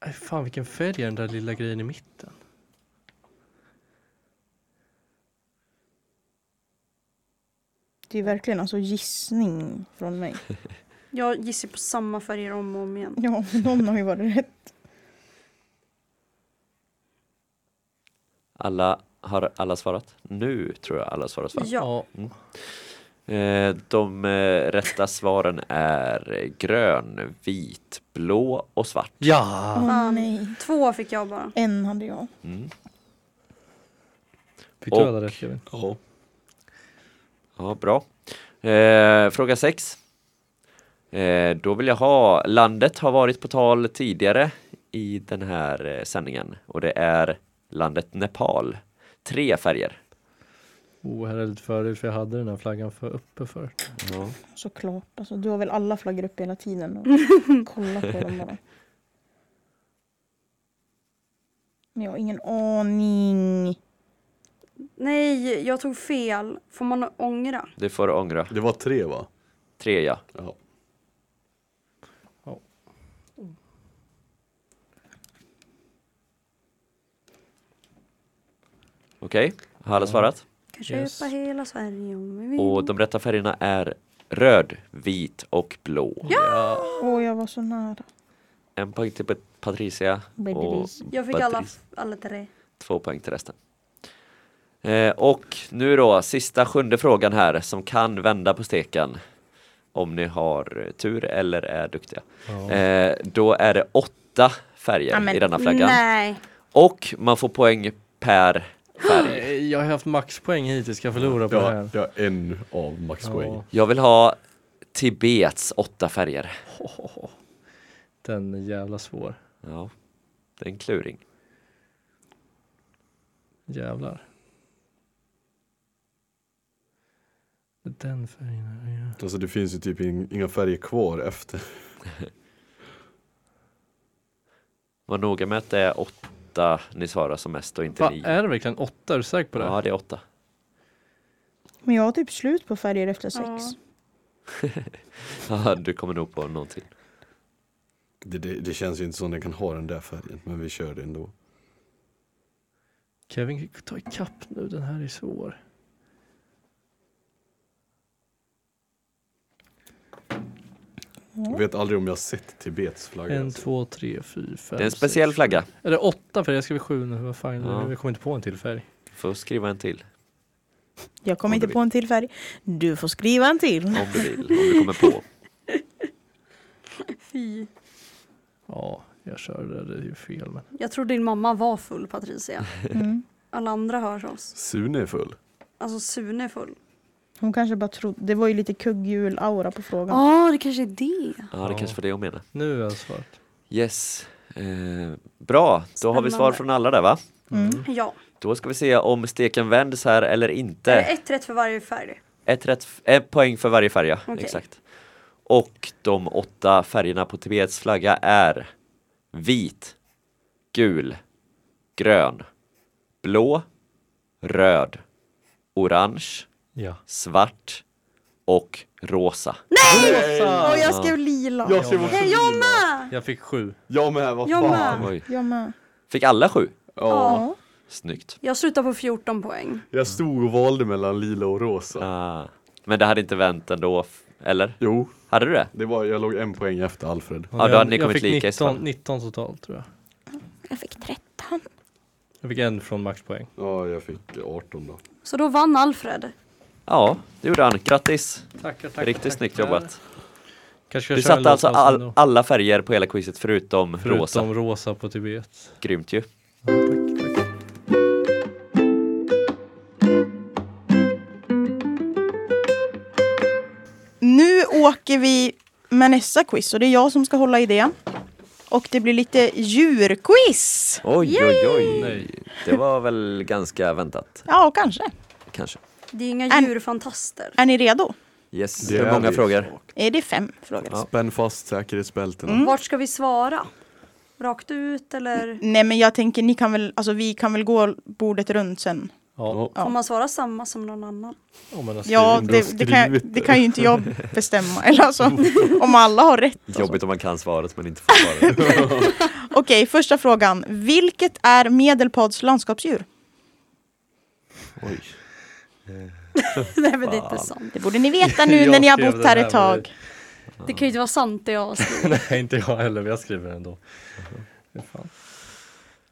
[SPEAKER 2] Aj, fan vilken färg är den där lilla grejen i mitten?
[SPEAKER 3] Det är verkligen alltså gissning från mig.
[SPEAKER 6] Jag gissar på samma färger om och om igen.
[SPEAKER 3] Ja, men någon har ju varit rätt.
[SPEAKER 4] Alla, har alla svarat? Nu tror jag alla svarat svarat.
[SPEAKER 6] Ja.
[SPEAKER 4] Eh, de eh, rätta svaren är eh, grön, vit, blå och svart.
[SPEAKER 2] Ja!
[SPEAKER 3] Åh
[SPEAKER 6] Fan.
[SPEAKER 3] nej.
[SPEAKER 6] Två fick jag bara.
[SPEAKER 3] En hade jag.
[SPEAKER 4] Mm.
[SPEAKER 2] Fick
[SPEAKER 4] Och-
[SPEAKER 2] du alla rätt Kevin?
[SPEAKER 5] Ja.
[SPEAKER 4] Ja, bra. Eh, fråga sex. Eh, då vill jag ha, landet har varit på tal tidigare i den här eh, sändningen och det är landet Nepal. Tre färger.
[SPEAKER 2] Oh, här är lite fördel för jag hade den här flaggan för uppe för.
[SPEAKER 3] Såklart. Alltså, du har väl alla flaggor uppe hela tiden och kollat på dem bara. Men jag har ingen aning.
[SPEAKER 6] Nej, jag tog fel. Får man ångra?
[SPEAKER 4] Det får du ångra.
[SPEAKER 5] Det var tre va?
[SPEAKER 4] Tre ja.
[SPEAKER 5] Ja.
[SPEAKER 4] Okej, har alla svarat?
[SPEAKER 6] Kan köpa
[SPEAKER 2] Yes.
[SPEAKER 6] hela Sverige om vi vill.
[SPEAKER 4] Och de rätta färgerna är röd, vit och blå.
[SPEAKER 3] Åh, jag var så nära.
[SPEAKER 4] En poäng till Pat- Patricia och
[SPEAKER 3] Badris.
[SPEAKER 6] jag fick alla,
[SPEAKER 4] Patrice.
[SPEAKER 6] alla tre.
[SPEAKER 4] två poäng till resten. Eh, och nu då, sista sjunde frågan här som kan vända på steken. Om ni har tur eller är duktiga. Eh, då är det åtta färger
[SPEAKER 3] Ja, men
[SPEAKER 4] i denna flaggan.
[SPEAKER 6] Nej.
[SPEAKER 4] Och man får poäng per färg.
[SPEAKER 2] Nej, Jag har haft maxpoäng hittills, ska jag förlora på det
[SPEAKER 5] Ja,
[SPEAKER 2] här?
[SPEAKER 5] ja, en av maxpoäng.
[SPEAKER 2] Ja,
[SPEAKER 4] Jag vill ha Tibets åtta färger.
[SPEAKER 2] den är jävla svår.
[SPEAKER 4] Ja, det är en kluring.
[SPEAKER 2] Jävlar. Den färgen här, ja.
[SPEAKER 5] Alltså det finns ju typ in, inga färger kvar efter.
[SPEAKER 4] Var noga med att det är åtta ni svarar som mest och inte
[SPEAKER 2] Va,
[SPEAKER 4] nio.
[SPEAKER 2] är det verkligen åtta? Är du säker på det?
[SPEAKER 4] Ja, det är åtta.
[SPEAKER 3] Men jag har typ slut på färger efter sex.
[SPEAKER 6] Ja.
[SPEAKER 4] Ja, du kommer nog på någonting.
[SPEAKER 5] Det, det, det känns ju inte som den kan ha den där färgen, men vi kör det ändå.
[SPEAKER 2] Kevin, ta ikapp nu, den här är svår.
[SPEAKER 6] Mm.
[SPEAKER 5] Jag vet aldrig om jag har sett Tibets flagga.
[SPEAKER 2] En,
[SPEAKER 5] alltså.
[SPEAKER 2] två, tre, fyra, fem,
[SPEAKER 4] Det är en speciell
[SPEAKER 2] sex.
[SPEAKER 4] flagga.
[SPEAKER 2] Är det åtta färger? Jag skrev sju nu, vad fan,
[SPEAKER 4] Ja.
[SPEAKER 2] jag kommer inte på en till färg.
[SPEAKER 4] Du får skriva en till
[SPEAKER 3] Jag
[SPEAKER 4] Om
[SPEAKER 3] kommer inte
[SPEAKER 4] du
[SPEAKER 3] på en till färg. Du får skriva en till.
[SPEAKER 4] om du vill, om du kommer på.
[SPEAKER 6] Fy.
[SPEAKER 2] Ja, jag körde det, det är ju fel men.
[SPEAKER 6] Jag tror din mamma var full Patricia.
[SPEAKER 3] Mm.
[SPEAKER 6] Alla andra hörs oss.
[SPEAKER 5] Sune är full.
[SPEAKER 6] Alltså Sune är full.
[SPEAKER 3] Hon kanske bara trodde, det var ju lite kugghjul-aura på frågan.
[SPEAKER 6] Ja, det kanske är det.
[SPEAKER 4] Ja, det
[SPEAKER 2] Ja.
[SPEAKER 4] kanske var det jag menade.
[SPEAKER 2] Nu är jag svart.
[SPEAKER 4] Yes. Eh, bra, då har vi svar
[SPEAKER 6] Spännande.
[SPEAKER 4] från alla där va?
[SPEAKER 3] Mm.
[SPEAKER 6] Ja.
[SPEAKER 4] Då ska vi se om steken vänds här eller
[SPEAKER 6] Det
[SPEAKER 4] inte.
[SPEAKER 6] är ett rätt för varje färg.
[SPEAKER 4] Ett rätt, f- en poäng för varje färg, ja.
[SPEAKER 6] Okej.
[SPEAKER 4] Exakt. Och de åtta färgerna på Tibets flagga är vit, gul, grön, blå, röd, orange,
[SPEAKER 2] Ja.
[SPEAKER 4] svart och rosa.
[SPEAKER 3] Och jag skrev lila.
[SPEAKER 5] Jag skrev också
[SPEAKER 6] Jag
[SPEAKER 5] Sune.
[SPEAKER 6] med!
[SPEAKER 2] Jag fick sju.
[SPEAKER 5] Jag med, vad
[SPEAKER 6] Jag med.
[SPEAKER 5] fan.
[SPEAKER 4] Oj.
[SPEAKER 3] Jag med.
[SPEAKER 4] Fick alla sju?
[SPEAKER 5] Ja.
[SPEAKER 3] Ja.
[SPEAKER 4] Snyggt.
[SPEAKER 6] Jag slutar på 14 poäng.
[SPEAKER 5] Jag stod och valde mellan lila och rosa.
[SPEAKER 4] Ah. Men det hade inte vänt ändå, f- eller?
[SPEAKER 5] Jo,
[SPEAKER 4] Hade du det?
[SPEAKER 5] det var, jag låg en poäng efter Alfred.
[SPEAKER 4] Ja, då hade ni
[SPEAKER 2] jag
[SPEAKER 4] kommit
[SPEAKER 2] fick
[SPEAKER 4] lika i så
[SPEAKER 2] 19,
[SPEAKER 4] fall.
[SPEAKER 2] 19 totalt tror jag.
[SPEAKER 3] Jag fick 13.
[SPEAKER 2] Jag fick en från maxpoäng.
[SPEAKER 5] Ja, jag fick 18 då.
[SPEAKER 6] Så då vann Alfred.
[SPEAKER 4] Ja, det gjorde han. Grattis!
[SPEAKER 2] Tackar, tackar.
[SPEAKER 4] Riktigt snyggt jobbat.
[SPEAKER 2] Kanske ska
[SPEAKER 4] Du
[SPEAKER 2] köra en
[SPEAKER 4] satte
[SPEAKER 2] låt
[SPEAKER 4] alltså
[SPEAKER 2] med oss
[SPEAKER 4] all,
[SPEAKER 2] ändå.
[SPEAKER 4] alla färger på hela quizet förutom,
[SPEAKER 2] Förutom
[SPEAKER 4] rosa.
[SPEAKER 2] rosa på typ Tibet.
[SPEAKER 4] Grymt ju.
[SPEAKER 2] Ja, tack, tack.
[SPEAKER 3] Nu åker vi med nästa quiz och det är jag som ska hålla i det. Och det blir lite djurquiz.
[SPEAKER 4] Oj, oj, oj.
[SPEAKER 2] Nej.
[SPEAKER 4] Det var väl ganska väntat,
[SPEAKER 3] Ja, kanske.
[SPEAKER 4] kanske.
[SPEAKER 6] Det är inga
[SPEAKER 3] En-
[SPEAKER 6] djurfantaster.
[SPEAKER 3] Är ni redo?
[SPEAKER 4] Yes,
[SPEAKER 5] Det
[SPEAKER 4] hur
[SPEAKER 5] är
[SPEAKER 4] många
[SPEAKER 5] vi.
[SPEAKER 4] frågor?
[SPEAKER 3] Är det fem frågor?
[SPEAKER 4] Ja.
[SPEAKER 5] Spänn fast säkerhetsbältena.
[SPEAKER 6] Vart ska vi svara? Rakt ut eller
[SPEAKER 3] Nej, men jag tänker ni kan väl, alltså vi kan väl gå bordet runt sen.
[SPEAKER 2] Ja,
[SPEAKER 3] Ja.
[SPEAKER 6] får man svara samma som någon annan?
[SPEAKER 2] om man har
[SPEAKER 3] Ja,
[SPEAKER 5] Skriv-
[SPEAKER 3] det, det, kan,
[SPEAKER 5] skrivit det.
[SPEAKER 3] det kan ju inte jag bestämma. Eller alltså, om alla har rätt.
[SPEAKER 2] alltså.
[SPEAKER 4] Jobbigt om man kan svaret men inte får svaret.
[SPEAKER 3] Okej, första frågan. Vilket är Medelpads landskapsdjur?
[SPEAKER 5] Oj.
[SPEAKER 6] Nej men det är inte sant.
[SPEAKER 3] Det borde ni veta nu
[SPEAKER 2] Jag
[SPEAKER 3] när ni har
[SPEAKER 2] skrev
[SPEAKER 3] bott
[SPEAKER 2] den
[SPEAKER 3] här
[SPEAKER 2] här,
[SPEAKER 3] ett tag.
[SPEAKER 6] Det kan ju inte vara sant det jag har skrivit.
[SPEAKER 2] Nej, inte jag heller, men jag skriver den ändå. Fy fan.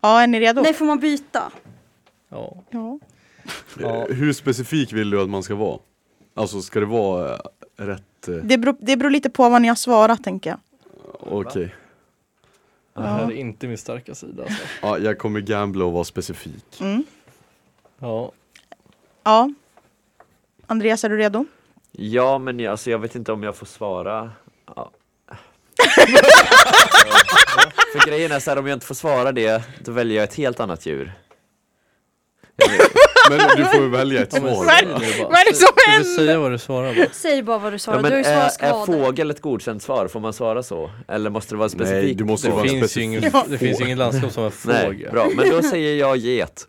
[SPEAKER 3] Ja, är ni redo?
[SPEAKER 6] Nej får man byta?
[SPEAKER 2] Ja.
[SPEAKER 3] Ja.
[SPEAKER 2] Ja.
[SPEAKER 5] Eh, Hur specifik vill du att man ska vara? Alltså ska det vara eh, rätt? eh,
[SPEAKER 3] Det, beror, det beror lite på vad ni har svarat, tänker jag.
[SPEAKER 5] Okej.
[SPEAKER 2] Det här är inte min starka sida alltså.
[SPEAKER 5] Ja, jag kommer gambla och vara specifik.
[SPEAKER 3] Mm.
[SPEAKER 2] Ja,
[SPEAKER 3] Ja. Andreas, är du redo?
[SPEAKER 4] Ja, men jag, alltså, jag vet inte om jag får svara. Ja. För grejen är så här, om jag inte får svara det, då väljer jag ett helt annat djur.
[SPEAKER 5] Men du får väl välja ett
[SPEAKER 2] Ja, men
[SPEAKER 5] svar.
[SPEAKER 2] säg
[SPEAKER 5] då.
[SPEAKER 2] bara.
[SPEAKER 3] vad är det som
[SPEAKER 2] Du får
[SPEAKER 3] händer?
[SPEAKER 2] säga vad du svarar bara.
[SPEAKER 6] Säg bara vad du
[SPEAKER 4] Ja,
[SPEAKER 6] svarade.
[SPEAKER 4] men
[SPEAKER 6] du har ju
[SPEAKER 4] är,
[SPEAKER 6] svarat
[SPEAKER 4] är
[SPEAKER 6] skvader.
[SPEAKER 4] fågel ett godkänt svar? Får man svara så? Eller måste det vara specifikt?
[SPEAKER 5] Nej, du måste
[SPEAKER 2] Det
[SPEAKER 5] vara
[SPEAKER 2] finns, ju
[SPEAKER 5] specifik.
[SPEAKER 2] ingen,
[SPEAKER 3] Ja.
[SPEAKER 2] det finns ju ingen landskap som har
[SPEAKER 4] Nej,
[SPEAKER 2] fågel.
[SPEAKER 4] bra. Men då säger jag get.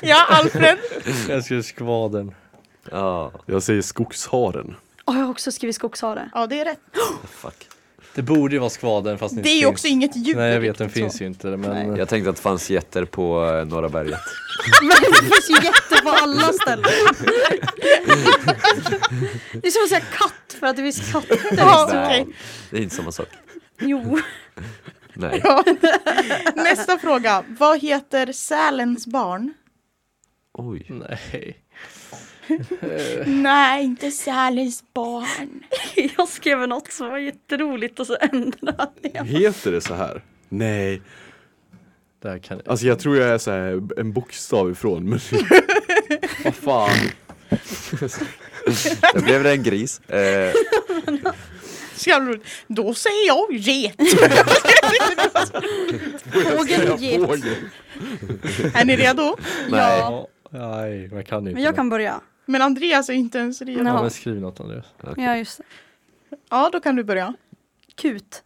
[SPEAKER 3] Ja, Alfred.
[SPEAKER 2] Jag skriver skvadern.
[SPEAKER 4] Ja,
[SPEAKER 5] Jag säger skogsharen.
[SPEAKER 6] Ja, jag har också skrivit skogshare.
[SPEAKER 3] Ja, det är rätt.
[SPEAKER 4] fuck.
[SPEAKER 2] Det borde ju vara skvadern fast
[SPEAKER 3] Det är ju
[SPEAKER 2] finns.
[SPEAKER 3] också inget djur.
[SPEAKER 2] Nej, jag vet, den
[SPEAKER 3] riktigt så.
[SPEAKER 2] finns ju inte. Men
[SPEAKER 4] Jag tänkte att det fanns getter på eh, Norra berget.
[SPEAKER 6] Men det finns ju jätte på alla ställen. Det är som att säga katt för att det finns katter.
[SPEAKER 3] Ja,
[SPEAKER 4] Nej,
[SPEAKER 3] okej.
[SPEAKER 4] Det är inte samma sak.
[SPEAKER 6] Jo.
[SPEAKER 4] Nej.
[SPEAKER 3] Ja. Nästa fråga. Vad heter sälens barn?
[SPEAKER 4] Oj.
[SPEAKER 2] Nej.
[SPEAKER 3] Nej, inte sälens barn.
[SPEAKER 6] Jag skrev något som var jätteroligt och så ändrade jag.
[SPEAKER 5] Heter det så här? Nej,
[SPEAKER 2] Det här kan jag.
[SPEAKER 5] alltså jag tror jag är så här en bokstav ifrån men Vad fan
[SPEAKER 4] Där blev det en gris. Eh,
[SPEAKER 3] Så jävla roligt. Då säger jag get.
[SPEAKER 6] Fågeln get.
[SPEAKER 5] Fågel.
[SPEAKER 3] är ni redo?
[SPEAKER 6] Ja.
[SPEAKER 2] Nej, jag kan inte.
[SPEAKER 6] Men jag kan börja.
[SPEAKER 3] Men Andreas är inte ens redo.
[SPEAKER 6] Nej.
[SPEAKER 2] Ja, men skriv något Andreas.
[SPEAKER 6] Ja just det.
[SPEAKER 3] Ja, då kan du börja.
[SPEAKER 6] Kut.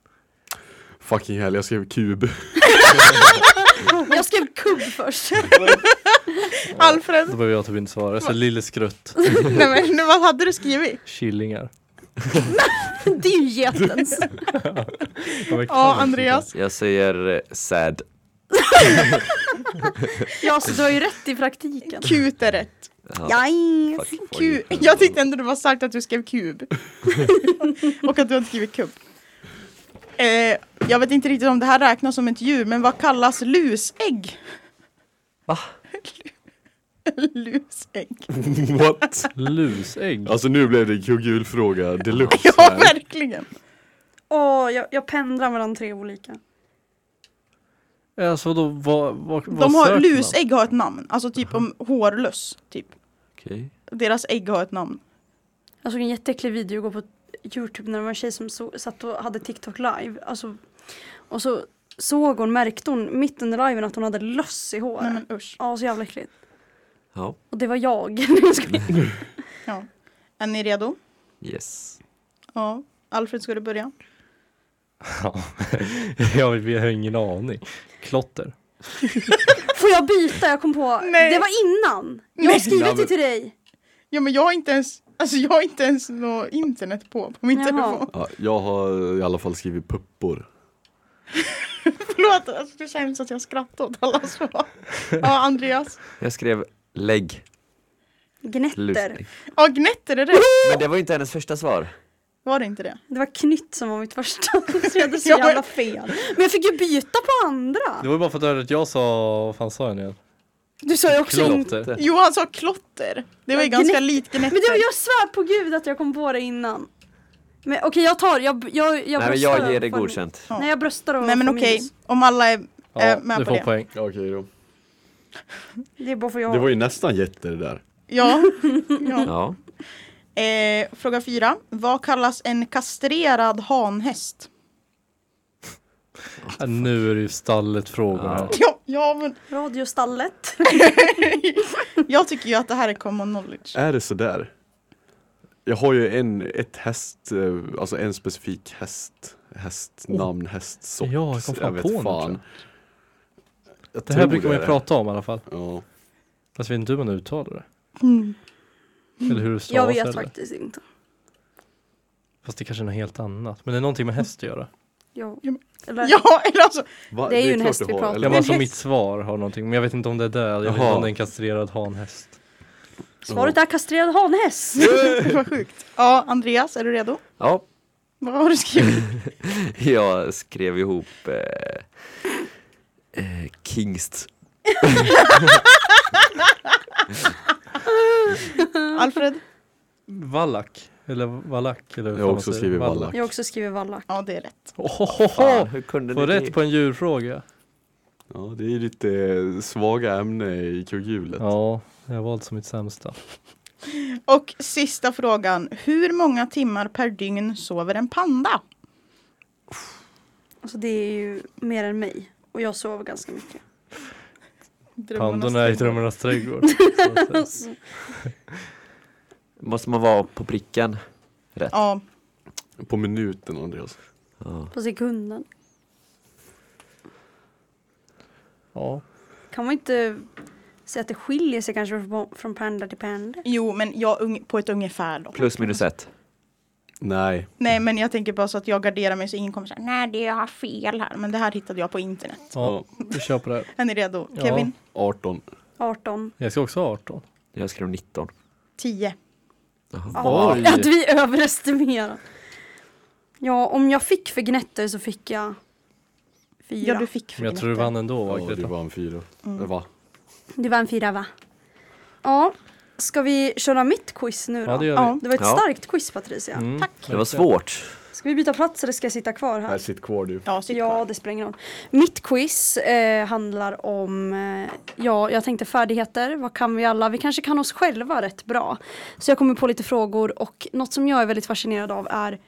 [SPEAKER 5] Fucking hell, jag skrev kub
[SPEAKER 6] Jag skrev kubb först.
[SPEAKER 2] Då
[SPEAKER 3] Alfred,
[SPEAKER 2] behöver jag typ inte svara. Så lille skrutt.
[SPEAKER 3] nej, men, vad hade du skrivit?
[SPEAKER 2] Killingar.
[SPEAKER 6] Det är ju getens.
[SPEAKER 2] Ja, men
[SPEAKER 3] Ja,
[SPEAKER 2] kan
[SPEAKER 3] Andreas.
[SPEAKER 4] Jag säger eh, sad.
[SPEAKER 6] Ja så du har ju rätt i praktiken.
[SPEAKER 3] Kut är rätt.
[SPEAKER 4] Ja,
[SPEAKER 6] Jajs.
[SPEAKER 4] fuck, fuck
[SPEAKER 3] Ku-
[SPEAKER 4] you.
[SPEAKER 3] jag tyckte ändå det var starkt att du skrev kub. Och att du hade skrivit kubb. Eh, jag vet inte riktigt om det här räknas som ett djur, men vad kallas lusägg?
[SPEAKER 4] Va?
[SPEAKER 3] lusägg.
[SPEAKER 5] What?
[SPEAKER 2] inte. Lusägg.
[SPEAKER 5] Alltså nu blev det kuggulfråga deluxe
[SPEAKER 3] Ja,
[SPEAKER 5] här.
[SPEAKER 3] verkligen.
[SPEAKER 6] Åh, jag, jag pendlar mellan tre olika.
[SPEAKER 2] Alltså då, vad, vad, vad
[SPEAKER 3] De
[SPEAKER 2] söker
[SPEAKER 3] har,
[SPEAKER 2] man?
[SPEAKER 3] lusägg har ett namn, alltså typ om hårlöss. Typ.
[SPEAKER 4] Okej.
[SPEAKER 3] Deras ägg har ett namn.
[SPEAKER 6] Jag såg en jätteäcklig video gå på Youtube när det var en tjej som så, satt och hade TikTok live. Alltså, och så såg hon, märkte hon mitt under liven att hon hade löss i
[SPEAKER 3] Nej
[SPEAKER 6] håret.
[SPEAKER 3] men usch.
[SPEAKER 6] Ja, så jävla äckligt.
[SPEAKER 4] Ja,
[SPEAKER 6] Och det var jag. Nej, jag skojar.
[SPEAKER 3] Ja. Är ni redo?
[SPEAKER 4] yes.
[SPEAKER 3] Ja. Alfred, ska du börja?
[SPEAKER 2] Ja. Jag vet- jag har ingen aning. Klotter.
[SPEAKER 6] Får jag byta? Jag kom på.
[SPEAKER 3] Nej.
[SPEAKER 6] Det var innan. Jag har
[SPEAKER 5] Ja,
[SPEAKER 6] skrivit
[SPEAKER 5] men-
[SPEAKER 6] det till dig.
[SPEAKER 3] Ja men jag har inte ens, alltså jag har inte ens något internet på på min
[SPEAKER 6] Jaha.
[SPEAKER 3] telefon.
[SPEAKER 5] Ja, jag har i alla fall skrivit puppor
[SPEAKER 3] Förlåt, alltså, det känns att jag skrattar åt alla svar. Ja, Andreas.
[SPEAKER 4] Jag skrev lägg.
[SPEAKER 6] Gnetter.
[SPEAKER 4] Lustig.
[SPEAKER 3] Ja, gnetter är rätt.
[SPEAKER 4] Men det var inte hennes första svar.
[SPEAKER 3] Var det inte det?
[SPEAKER 6] Det var knytt som var mitt första. Så jag hade så
[SPEAKER 3] Ja, men-
[SPEAKER 6] jävla fel. Men jag fick ju byta på andra.
[SPEAKER 2] Det var ju bara för att jag hörde att jag sa, vad fan sa jag nu igen?
[SPEAKER 6] Du sa ju också inte.
[SPEAKER 2] Klotter.
[SPEAKER 3] Johan sa klotter. Det var ju
[SPEAKER 6] Ja,
[SPEAKER 3] ganska
[SPEAKER 6] gnet-
[SPEAKER 3] likt gnetter.
[SPEAKER 6] Men det, jag svär på gud att jag kom på det innan. Men okej jag tar, jag, jag,
[SPEAKER 4] Nej
[SPEAKER 6] jag
[SPEAKER 4] men
[SPEAKER 6] bröstar
[SPEAKER 4] jag ger det
[SPEAKER 6] och får min-
[SPEAKER 4] godkänt.
[SPEAKER 3] Ja.
[SPEAKER 6] Nej jag bröstar och
[SPEAKER 3] Nej men
[SPEAKER 6] får
[SPEAKER 3] okej,
[SPEAKER 6] minus.
[SPEAKER 3] om alla är,
[SPEAKER 2] Ja,
[SPEAKER 3] är med
[SPEAKER 2] du
[SPEAKER 3] på
[SPEAKER 2] får
[SPEAKER 3] det.
[SPEAKER 2] poäng.
[SPEAKER 5] Okej då
[SPEAKER 6] Det är bara för jag.
[SPEAKER 5] Det var ju nästan jätte det där
[SPEAKER 3] Ja. ja.
[SPEAKER 4] Ja.
[SPEAKER 3] Eh, fråga fyra. Vad kallas en kastrerad hanhäst?
[SPEAKER 2] Ja, Nu är det ju stallet frågor här.
[SPEAKER 3] Ja, ja men
[SPEAKER 6] Radiostallet.
[SPEAKER 3] jag tycker ju att det här är common knowledge.
[SPEAKER 5] Är det sådär? Jag har ju en, ett häst, eh, alltså en specifik häst
[SPEAKER 6] Oh.
[SPEAKER 5] Hästnamn, hästsort
[SPEAKER 2] Ja, jag kom fan
[SPEAKER 5] vet
[SPEAKER 2] på nu, tror
[SPEAKER 5] fan.
[SPEAKER 2] jag.
[SPEAKER 5] Jag
[SPEAKER 2] Det här
[SPEAKER 5] tror
[SPEAKER 2] brukar man ju
[SPEAKER 5] det.
[SPEAKER 2] prata om i alla fall.
[SPEAKER 5] Ja.
[SPEAKER 2] Fast jag vet inte hur man uttalar det.
[SPEAKER 3] Mm.
[SPEAKER 2] Eller hur det
[SPEAKER 6] jag
[SPEAKER 2] stavas
[SPEAKER 6] vet
[SPEAKER 2] eller.
[SPEAKER 6] faktiskt inte.
[SPEAKER 2] Fast det kanske är något helt annat. Men det är någonting med häst att göra.
[SPEAKER 6] Jag,
[SPEAKER 3] Ja, men-
[SPEAKER 6] eller,
[SPEAKER 3] Ja, eller alltså,
[SPEAKER 5] Va?
[SPEAKER 6] Det är ju en
[SPEAKER 5] klart
[SPEAKER 6] häst
[SPEAKER 5] du
[SPEAKER 6] vi
[SPEAKER 5] har,
[SPEAKER 6] pratar
[SPEAKER 5] eller?
[SPEAKER 2] Jag
[SPEAKER 6] om.
[SPEAKER 2] bara
[SPEAKER 6] Men
[SPEAKER 2] som
[SPEAKER 6] häst-
[SPEAKER 2] mitt svar har någonting. Men jag vet inte om det är det. Jag vet inte
[SPEAKER 5] Jaha.
[SPEAKER 2] om det är en kastrerad hanhäst.
[SPEAKER 6] svaret är kastrerad hanhäst.
[SPEAKER 3] vad sjukt. Ja, Andreas, är du redo?
[SPEAKER 4] ja,
[SPEAKER 3] Vad har du skrivit?
[SPEAKER 4] jag skrev ihop eh, eh, Kingst.
[SPEAKER 3] Alfred?
[SPEAKER 2] Vallack. Eller vallack. Eller hur
[SPEAKER 5] Jag
[SPEAKER 2] fan
[SPEAKER 5] har
[SPEAKER 2] man
[SPEAKER 5] också
[SPEAKER 2] säger.
[SPEAKER 5] skrivit vallack.
[SPEAKER 6] Jag har också skrivit vallack.
[SPEAKER 3] Ja, det är rätt.
[SPEAKER 2] Ohohoho!
[SPEAKER 4] Fan, hur kunde
[SPEAKER 2] Få
[SPEAKER 4] ni det?
[SPEAKER 2] rätt på en djurfråga.
[SPEAKER 5] Ja, det är ju ditt eh, svaga ämne i kugghjulet
[SPEAKER 2] Ja, jag har valt som mitt sämsta.
[SPEAKER 3] Och sista frågan. Hur många timmar per dygn sover en panda?
[SPEAKER 6] Alltså det är ju mer än mig. Och jag sover ganska mycket.
[SPEAKER 2] Pandorna är i drömmarnas trädgård. Så att säga.
[SPEAKER 4] Måste man vara på pricken?
[SPEAKER 3] Ja,
[SPEAKER 5] På minuten Andreas
[SPEAKER 4] Ja.
[SPEAKER 6] På sekunden.
[SPEAKER 2] Ja.
[SPEAKER 6] Kan man inte säga att det skiljer sig kanske från- från panda till panda?
[SPEAKER 3] jo men jag ung- på ett ungefär då.
[SPEAKER 4] Plus minus ett.
[SPEAKER 5] Nej
[SPEAKER 3] Nej men jag tänker bara så att jag garderar mig så ingen kommer säga nej det har fel här. Men det här hittade jag på internet.
[SPEAKER 2] ja, vi kör på det här.
[SPEAKER 3] Är ni redo?
[SPEAKER 2] Ja.
[SPEAKER 3] Kevin?
[SPEAKER 5] 18
[SPEAKER 6] 18.
[SPEAKER 2] Jag ska också ha 18.
[SPEAKER 4] Jag skrev 19.
[SPEAKER 3] 10.
[SPEAKER 2] Oj!
[SPEAKER 6] Att vi överestimerar. Ja, om jag fick för gnetter så fick jag Fyra.
[SPEAKER 3] Ja, du fick
[SPEAKER 2] Men jag
[SPEAKER 3] frågan.
[SPEAKER 2] tror du vann ändå va?
[SPEAKER 5] Ja, det
[SPEAKER 2] Greta?
[SPEAKER 5] var en fyra.
[SPEAKER 3] Mm.
[SPEAKER 5] Va?
[SPEAKER 6] Du vann fyra va? Ja, ska vi köra mitt quiz nu då?
[SPEAKER 2] Ja det gör
[SPEAKER 3] Ja.
[SPEAKER 2] vi.
[SPEAKER 6] Det var ett
[SPEAKER 4] Ja.
[SPEAKER 6] starkt quiz Patricia.
[SPEAKER 2] Mm,
[SPEAKER 3] Tack.
[SPEAKER 4] Det var svårt.
[SPEAKER 6] Ska vi byta plats eller ska jag sitta kvar här?
[SPEAKER 5] Nej, sitt kvar du.
[SPEAKER 3] Ja, sitt
[SPEAKER 6] Ja,
[SPEAKER 3] kvar.
[SPEAKER 6] det spelar ingen roll. Mitt quiz eh, handlar om, eh, ja, jag tänkte färdigheter, vad kan vi alla? Vi kanske kan oss själva rätt bra. Så jag kommer på lite frågor och något som jag är väldigt fascinerad av är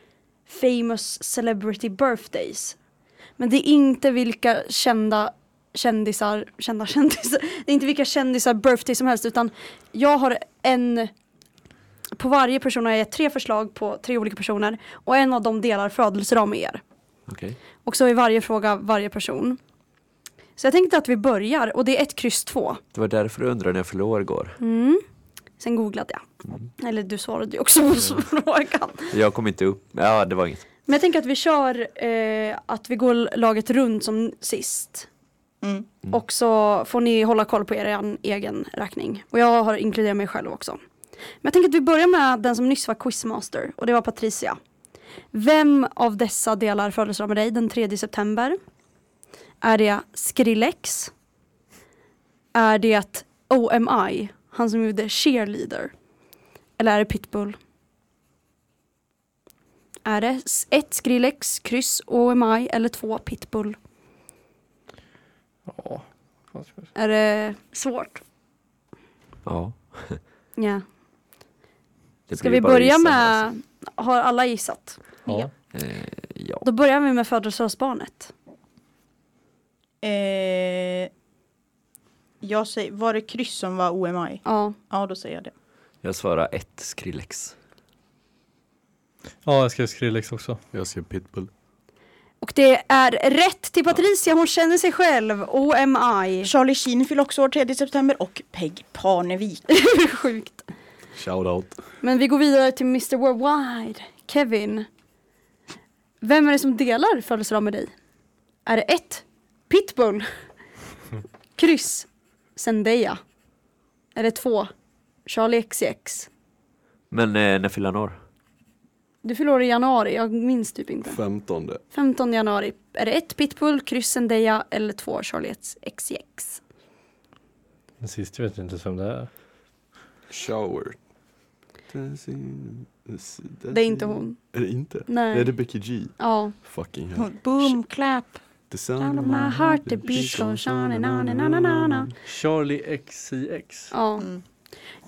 [SPEAKER 6] famous celebrity birthdays. Men det är inte vilka kända kändisar, kända kändisar, det är inte vilka kändisar birthday som helst utan jag har en på varje person har jag gett tre förslag på tre olika personer och en av dem delar födelsedag med er.
[SPEAKER 4] Okej.
[SPEAKER 6] Och så är varje fråga varje person. Så jag tänkte att vi börjar och det är ett kryss två. Mm.
[SPEAKER 4] Det var därför du undrade när jag förlorade igår.
[SPEAKER 6] Sen googlade jag. Eller du svarade ju också på frågan.
[SPEAKER 4] Jag kom inte upp. Ja, det var inget.
[SPEAKER 6] Men jag tänker att vi kör eh, att vi går laget runt som sist.
[SPEAKER 3] Mm.
[SPEAKER 6] Och så får ni hålla koll på er egen räkning. Och jag har inkluderat mig själv också. Men jag tänker att vi börjar med den som nyss var quizmaster och det var Patricia. Vem av dessa delar födelsedag med dig den 3 september? Är det Skrillex? Är det OMI, han som gjorde Cheerleader? Eller är det Pitbull? Är det s- ett Skrillex, kryss, OMI eller två Pitbull?
[SPEAKER 2] Ja. Fan, ska vi-
[SPEAKER 6] Är det svårt?
[SPEAKER 4] Ja.
[SPEAKER 6] Ja.
[SPEAKER 4] Det
[SPEAKER 6] Ska
[SPEAKER 4] blir
[SPEAKER 6] vi
[SPEAKER 4] bara
[SPEAKER 6] börja
[SPEAKER 4] gissa
[SPEAKER 6] med,
[SPEAKER 4] här,
[SPEAKER 6] har alla gissat?
[SPEAKER 2] Ja.
[SPEAKER 4] alltså. Eh, ja.
[SPEAKER 6] Då börjar vi med födelsedagsbarnet.
[SPEAKER 3] Eh, jag säger, var det kryss som var OMI?
[SPEAKER 6] Ja,
[SPEAKER 3] Ja, då säger jag det.
[SPEAKER 4] Jag svarar ett Skrillex.
[SPEAKER 2] ja jag skrev Skrillex också.
[SPEAKER 5] Jag ser pitbull.
[SPEAKER 6] och det är rätt till Patricia, hon känner sig själv, OMI.
[SPEAKER 3] Charlie Sheen fyller också år 3 september och Peg Parnevik.
[SPEAKER 6] Sjukt.
[SPEAKER 5] Shoutout.
[SPEAKER 6] Men vi går vidare till Mr Worldwide, Kevin. Vem är det som delar födelsedag med dig? Är det ett, Pitbull? Kryss, Zendaya? Är det två, Charlie XCX?
[SPEAKER 4] Men eh, när fyller han år?
[SPEAKER 6] Du fyller år i januari, jag minns typ inte.
[SPEAKER 5] Femtonde.
[SPEAKER 6] 15 januari. Är det ett Pitbull, kryss Zendaya eller två Charlie XCX?
[SPEAKER 2] Den sista vet jag inte ens vem det är.
[SPEAKER 5] Shower. Dancing-
[SPEAKER 6] Det är inte hon.
[SPEAKER 5] Är det inte?
[SPEAKER 6] Nej.
[SPEAKER 5] Är det Becky G?
[SPEAKER 6] Ja.
[SPEAKER 5] Fucking hell.
[SPEAKER 3] Hon- Boom, clap.
[SPEAKER 5] The sound
[SPEAKER 6] Sound
[SPEAKER 5] of
[SPEAKER 6] of
[SPEAKER 5] my
[SPEAKER 6] my
[SPEAKER 5] heart,
[SPEAKER 6] heart, the beat goes on and on and on and on
[SPEAKER 5] na
[SPEAKER 6] and
[SPEAKER 2] Charlie XCX.
[SPEAKER 6] ja.
[SPEAKER 3] Mm.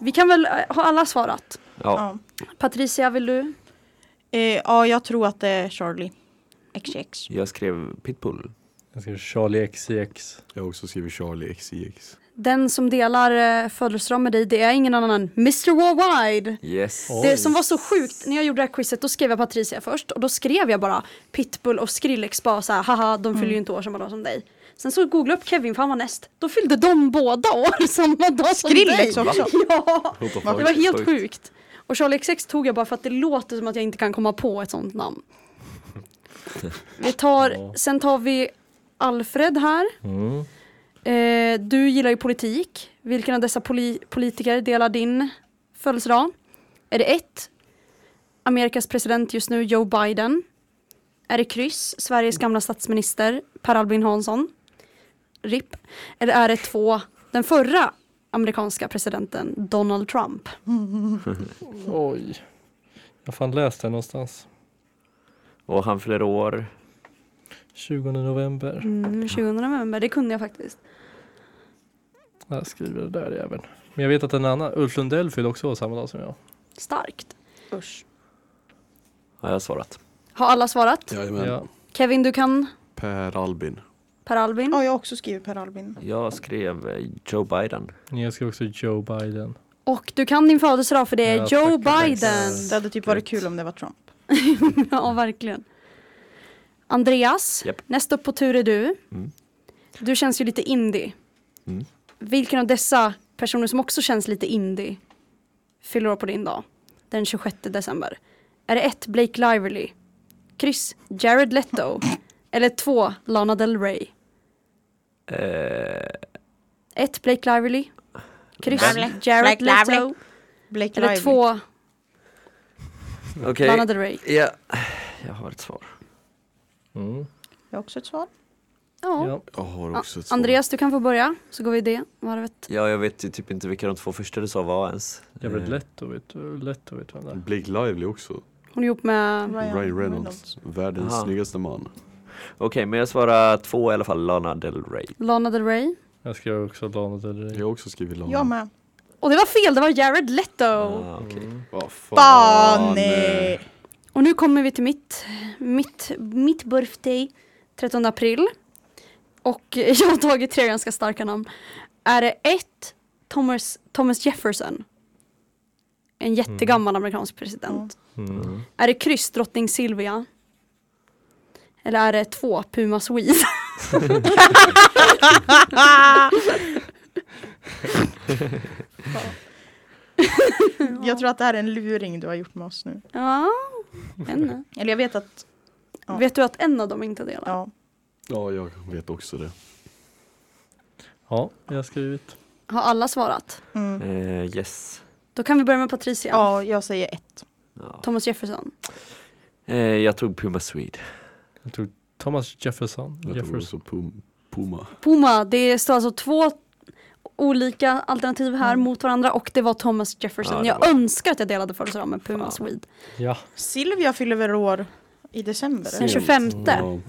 [SPEAKER 6] Vi kan väl, eh, ha alla svarat?
[SPEAKER 4] Ja.
[SPEAKER 3] Ja.
[SPEAKER 6] Patricia, vill du?
[SPEAKER 3] Eh, ja, jag tror att det är Charlie. XX.
[SPEAKER 4] Jag skrev Pitbull.
[SPEAKER 2] Jag skrev Charlie XCX.
[SPEAKER 5] Jag har också skrivit Charlie XCX.
[SPEAKER 6] Den som delar eh, födelsedag med dig, det är ingen annan än Mr Worldwide.
[SPEAKER 4] Yes.
[SPEAKER 2] Oj.
[SPEAKER 6] Det som var så sjukt, när jag gjorde det här quizet då skrev jag Patricia först och då skrev jag bara Pitbull och Skrillex bara så här, haha de fyller ju inte år samma dag som dig. Sen så googlade jag upp Kevin för han var näst, då fyllde de båda år samma dag som dig.
[SPEAKER 3] Skrillex också.
[SPEAKER 6] Ja,
[SPEAKER 5] What the
[SPEAKER 6] det
[SPEAKER 5] fuck?
[SPEAKER 6] var helt sjukt. Och Charlie XX tog jag bara för att det låter som att jag inte kan komma på ett sånt namn. Vi tar, sen tar vi Alfred här.
[SPEAKER 2] Mm.
[SPEAKER 6] Eh, du gillar ju politik. Vilken av dessa poli- politiker delar din födelsedag? Är det ett, Amerikas president just nu, Joe Biden? Är det kryss, Sveriges gamla statsminister, Per Albin Hansson? RIP. Eller är det två, den förra amerikanska presidenten, Donald Trump?
[SPEAKER 2] Oj. Jag har fan läst det någonstans.
[SPEAKER 4] Och han fyller år.
[SPEAKER 2] 20 november.
[SPEAKER 6] Mm, 20 november, det kunde jag faktiskt.
[SPEAKER 2] Jag skriver det där jäveln. Men jag vet att en annan, Ulf Lundell fyllde också år samma dag som jag.
[SPEAKER 6] Starkt.
[SPEAKER 3] Usch.
[SPEAKER 4] Har jag svarat.
[SPEAKER 6] Har alla svarat?
[SPEAKER 5] Jajamän.
[SPEAKER 2] Ja.
[SPEAKER 6] Kevin, du kan
[SPEAKER 5] Per Albin.
[SPEAKER 6] Per Albin?
[SPEAKER 3] Ja, jag har också skrivit Per Albin.
[SPEAKER 4] Jag skrev eh, Joe Biden.
[SPEAKER 2] Jag skrev också Joe Biden.
[SPEAKER 6] Och du kan din födelsedag för det är
[SPEAKER 2] Ja,
[SPEAKER 6] Joe
[SPEAKER 2] tack.
[SPEAKER 6] Biden.
[SPEAKER 3] Det hade typ varit kul om det var Trump.
[SPEAKER 6] Ja, verkligen. Andreas,
[SPEAKER 4] Japp.
[SPEAKER 6] näst upp på tur är du.
[SPEAKER 4] Mm.
[SPEAKER 6] Du känns ju lite indie.
[SPEAKER 4] Mm.
[SPEAKER 6] Vilken av dessa personer som också känns lite indie fyller år på din dag? Den 26 december. Är det ett Blake Lively? Kryss Jared Leto? Eller två Lana Del Rey?
[SPEAKER 4] Eh,
[SPEAKER 6] Ett Blake Lively? Kryss
[SPEAKER 3] Lively.
[SPEAKER 6] Jared
[SPEAKER 3] Blake Lively.
[SPEAKER 6] Leto?
[SPEAKER 3] Blake
[SPEAKER 6] Eller
[SPEAKER 3] Lively.
[SPEAKER 6] två
[SPEAKER 4] Okej.
[SPEAKER 6] Lana Del Rey?
[SPEAKER 4] Ja. Jag har ett svar.
[SPEAKER 2] Mm.
[SPEAKER 3] Jag har också ett svar.
[SPEAKER 6] Ja.
[SPEAKER 2] Ja.
[SPEAKER 5] Jag har
[SPEAKER 6] Ah,
[SPEAKER 5] också ett svar.
[SPEAKER 6] Andreas, du kan få börja, så går vi det varvet.
[SPEAKER 4] Ja, jag vet ju typ inte vilka de två första du sa var ens. Eh,
[SPEAKER 2] Jävligt lätt att veta, lätt att veta vem det är.
[SPEAKER 5] Blake Lively också.
[SPEAKER 6] Hon är ihop med...
[SPEAKER 3] Ryan
[SPEAKER 5] Ryan Reynolds. Världens
[SPEAKER 4] Aha.
[SPEAKER 5] snyggaste man.
[SPEAKER 4] Okej, men jag svarar två i alla fall, Lana Del Rey.
[SPEAKER 6] Lana Del Rey.
[SPEAKER 2] Jag skrev också Lana Del Rey.
[SPEAKER 5] Jag har också skrivit Lana.
[SPEAKER 3] Jag med.
[SPEAKER 6] Och det var fel, det var Jared Leto!
[SPEAKER 4] Ah, okej.
[SPEAKER 2] Mm.
[SPEAKER 5] Vad fan.
[SPEAKER 3] Fan!
[SPEAKER 5] eh.
[SPEAKER 3] nej.
[SPEAKER 6] Och nu kommer vi till mitt, mitt, mitt birthday, 13 april. Och jag har tagit tre ganska starka namn. Är det ett Thomas, Thomas Jefferson? En jättegammal amerikansk president.
[SPEAKER 2] Mm.
[SPEAKER 6] Är det kryss drottning Silvia? Eller är det två Puma Swede?
[SPEAKER 3] Jag tror att det här är en luring du har gjort med oss nu.
[SPEAKER 6] ja, en.
[SPEAKER 3] Eller jag vet att, Ja.
[SPEAKER 6] Vet du att en av dem inte delar?
[SPEAKER 3] ja.
[SPEAKER 5] Ja, jag vet också det.
[SPEAKER 2] Ja, jag har skrivit.
[SPEAKER 6] Har alla svarat?
[SPEAKER 3] Mm.
[SPEAKER 4] Eh, yes.
[SPEAKER 6] Då kan vi börja med Patricia.
[SPEAKER 3] Ja, jag säger ett.
[SPEAKER 4] Ja.
[SPEAKER 6] Thomas Jefferson.
[SPEAKER 4] Eh, jag tog Puma Swede.
[SPEAKER 2] Jag tog Thomas Jefferson.
[SPEAKER 5] Jag tror
[SPEAKER 2] Jefferson.
[SPEAKER 5] också Pum- Puma.
[SPEAKER 6] Puma, det står alltså två olika alternativ här mot varandra och det var Thomas Jefferson.
[SPEAKER 4] Ja, det
[SPEAKER 6] jag
[SPEAKER 4] var-
[SPEAKER 6] önskar att jag delade födelsedag med Puma Swede.
[SPEAKER 2] Ja.
[SPEAKER 3] Silvia fyller väl år i december?
[SPEAKER 6] Den
[SPEAKER 3] eller?
[SPEAKER 6] 25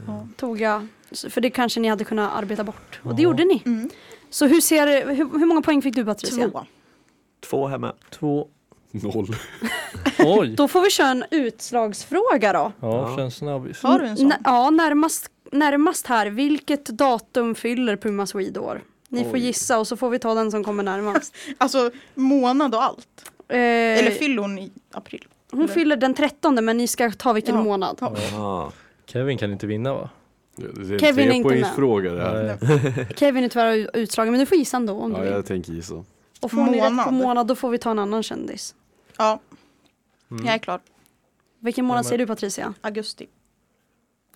[SPEAKER 5] Ja.
[SPEAKER 6] tog jag, för det kanske ni hade kunnat arbeta bort. Och det
[SPEAKER 2] Ja.
[SPEAKER 6] gjorde ni.
[SPEAKER 3] Mm.
[SPEAKER 6] Så hur, ser, hur, hur många poäng fick du Patricia?
[SPEAKER 3] Två.
[SPEAKER 4] Två hemma.
[SPEAKER 2] Två.
[SPEAKER 5] Noll.
[SPEAKER 2] Oj!
[SPEAKER 6] Då får vi köra en utslagsfråga då.
[SPEAKER 2] Ja, känns snabbis.
[SPEAKER 3] Har du en sån?
[SPEAKER 6] N- ja, närmast, närmast här. Vilket datum fyller Puma Swede år? Ni får
[SPEAKER 5] Oj.
[SPEAKER 6] gissa och så får vi ta den som kommer närmast.
[SPEAKER 3] Alltså månad och allt.
[SPEAKER 6] Eh,
[SPEAKER 3] Eller fyller hon i april?
[SPEAKER 6] hon fyller den 13 men ni ska ta vilken
[SPEAKER 3] Ja.
[SPEAKER 6] månad.
[SPEAKER 3] Ja.
[SPEAKER 4] Ah.
[SPEAKER 2] Kevin kan inte vinna va?
[SPEAKER 5] Det är en
[SPEAKER 6] Kevin är inte med.
[SPEAKER 5] trepoängsfråga det här.
[SPEAKER 2] Nej.
[SPEAKER 6] Kevin är tyvärr utslagen men du får gissa ändå om
[SPEAKER 5] Ja,
[SPEAKER 6] du vill.
[SPEAKER 5] jag tänker gissa.
[SPEAKER 6] Och får ni rätt på
[SPEAKER 3] Månad.
[SPEAKER 6] månad då får vi ta en annan kändis.
[SPEAKER 3] Ja,
[SPEAKER 2] Mm.
[SPEAKER 3] jag är klar.
[SPEAKER 6] Vilken månad
[SPEAKER 2] men-
[SPEAKER 6] säger du Patricia?
[SPEAKER 3] Augusti.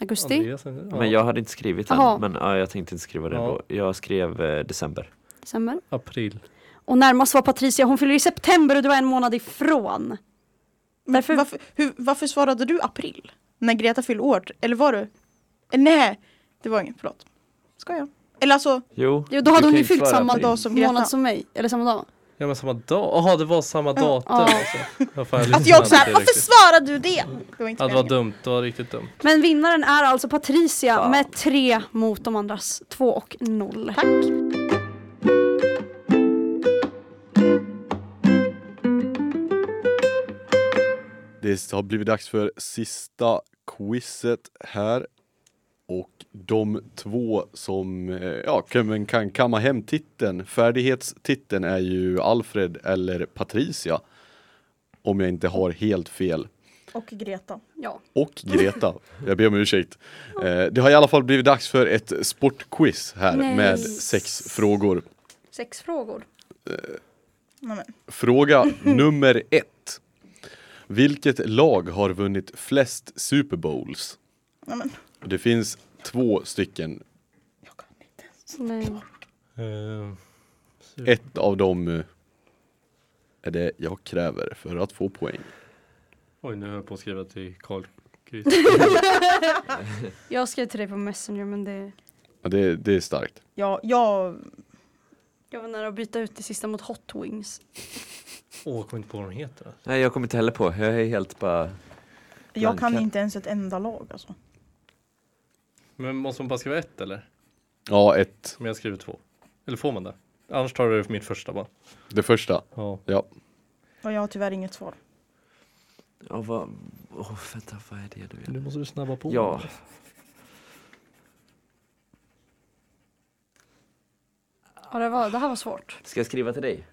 [SPEAKER 6] Augusti?
[SPEAKER 2] Andreas, ja.
[SPEAKER 4] Men jag hade inte skrivit den,
[SPEAKER 6] Aha.
[SPEAKER 4] men ja, jag tänkte inte skriva det
[SPEAKER 2] Ja.
[SPEAKER 4] då. Jag skrev eh, december.
[SPEAKER 6] December?
[SPEAKER 2] April.
[SPEAKER 6] Och närmast var Patricia, hon fyller i september och du var en månad ifrån.
[SPEAKER 3] Varför,
[SPEAKER 6] Därför-
[SPEAKER 3] varför, hur, varför svarade du april? När Greta fyllde år? Eller var du? Eh, Nej, det var inget. Förlåt. Ska jag? Eller alltså,
[SPEAKER 4] Jo,
[SPEAKER 6] Jo, då hade
[SPEAKER 4] du
[SPEAKER 6] hon
[SPEAKER 4] kan
[SPEAKER 6] ju fyllt
[SPEAKER 4] svara
[SPEAKER 6] samma
[SPEAKER 4] på det.
[SPEAKER 3] dag som Greta.
[SPEAKER 6] Månad som mig, eller samma dag.
[SPEAKER 2] Ja men samma dag. Jaha, det var samma datum
[SPEAKER 6] Ja.
[SPEAKER 2] alltså. Ja, fan,
[SPEAKER 3] att jag
[SPEAKER 2] lyssnade
[SPEAKER 3] också såhär,
[SPEAKER 2] inte
[SPEAKER 3] varför
[SPEAKER 2] riktigt. Mm.
[SPEAKER 3] svarade du det? Det var inte
[SPEAKER 2] Ja, det var
[SPEAKER 3] meningen.
[SPEAKER 2] dumt. Det var riktigt dumt.
[SPEAKER 6] Men vinnaren är alltså Patricia
[SPEAKER 4] Fan.
[SPEAKER 6] med tre mot de andras två och noll.
[SPEAKER 3] Tack.
[SPEAKER 5] Det har blivit dags för sista quizet här. Och de två som eh, ja, kan, kan kamma hem titeln, färdighetstiteln är ju Alfred eller Patricia. Om jag inte har helt fel.
[SPEAKER 3] Och Greta.
[SPEAKER 6] Ja.
[SPEAKER 5] Och Greta. Jag ber om ursäkt. Eh, det har i alla fall blivit dags för ett sportquiz här
[SPEAKER 6] Nej.
[SPEAKER 5] med sex frågor.
[SPEAKER 6] Sex frågor.
[SPEAKER 3] Nej, men.
[SPEAKER 5] Fråga nummer ett. Vilket lag har vunnit flest Super Bowls?
[SPEAKER 3] Nej, men.
[SPEAKER 5] Det finns två stycken.
[SPEAKER 3] Jag kan inte.
[SPEAKER 6] Nej.
[SPEAKER 2] Ehm,
[SPEAKER 5] Ett av dem eh, är det jag kräver för att få poäng.
[SPEAKER 2] Oj, nu höll jag på att skriva till Carl Chris.
[SPEAKER 6] Jag skrev till dig på Messenger men det...
[SPEAKER 5] Ja, det, det är starkt.
[SPEAKER 3] Ja, jag...
[SPEAKER 6] Jag var nära att byta ut det sista mot Hot Wings.
[SPEAKER 2] Åh, jag kommer inte på vad de heter.
[SPEAKER 4] Nej, jag kommer inte heller på. Jag är helt bara...
[SPEAKER 3] Jag kan
[SPEAKER 4] Blanka.
[SPEAKER 3] inte ens ett enda lag alltså.
[SPEAKER 2] Men måste man bara skriva ett eller?
[SPEAKER 5] Ja, ett.
[SPEAKER 2] Men jag skriver två. Eller får man det? Annars tar du mitt första bara.
[SPEAKER 5] Det första.
[SPEAKER 2] Ja.
[SPEAKER 5] Ja.
[SPEAKER 3] Och jag har tyvärr inget svar.
[SPEAKER 4] Ja, vad... Åh, vänta, vad är det du gör?
[SPEAKER 2] Nu måste du snabba på.
[SPEAKER 4] Ja.
[SPEAKER 6] Ja, det, var, det här var svårt.
[SPEAKER 4] Ska jag skriva till dig?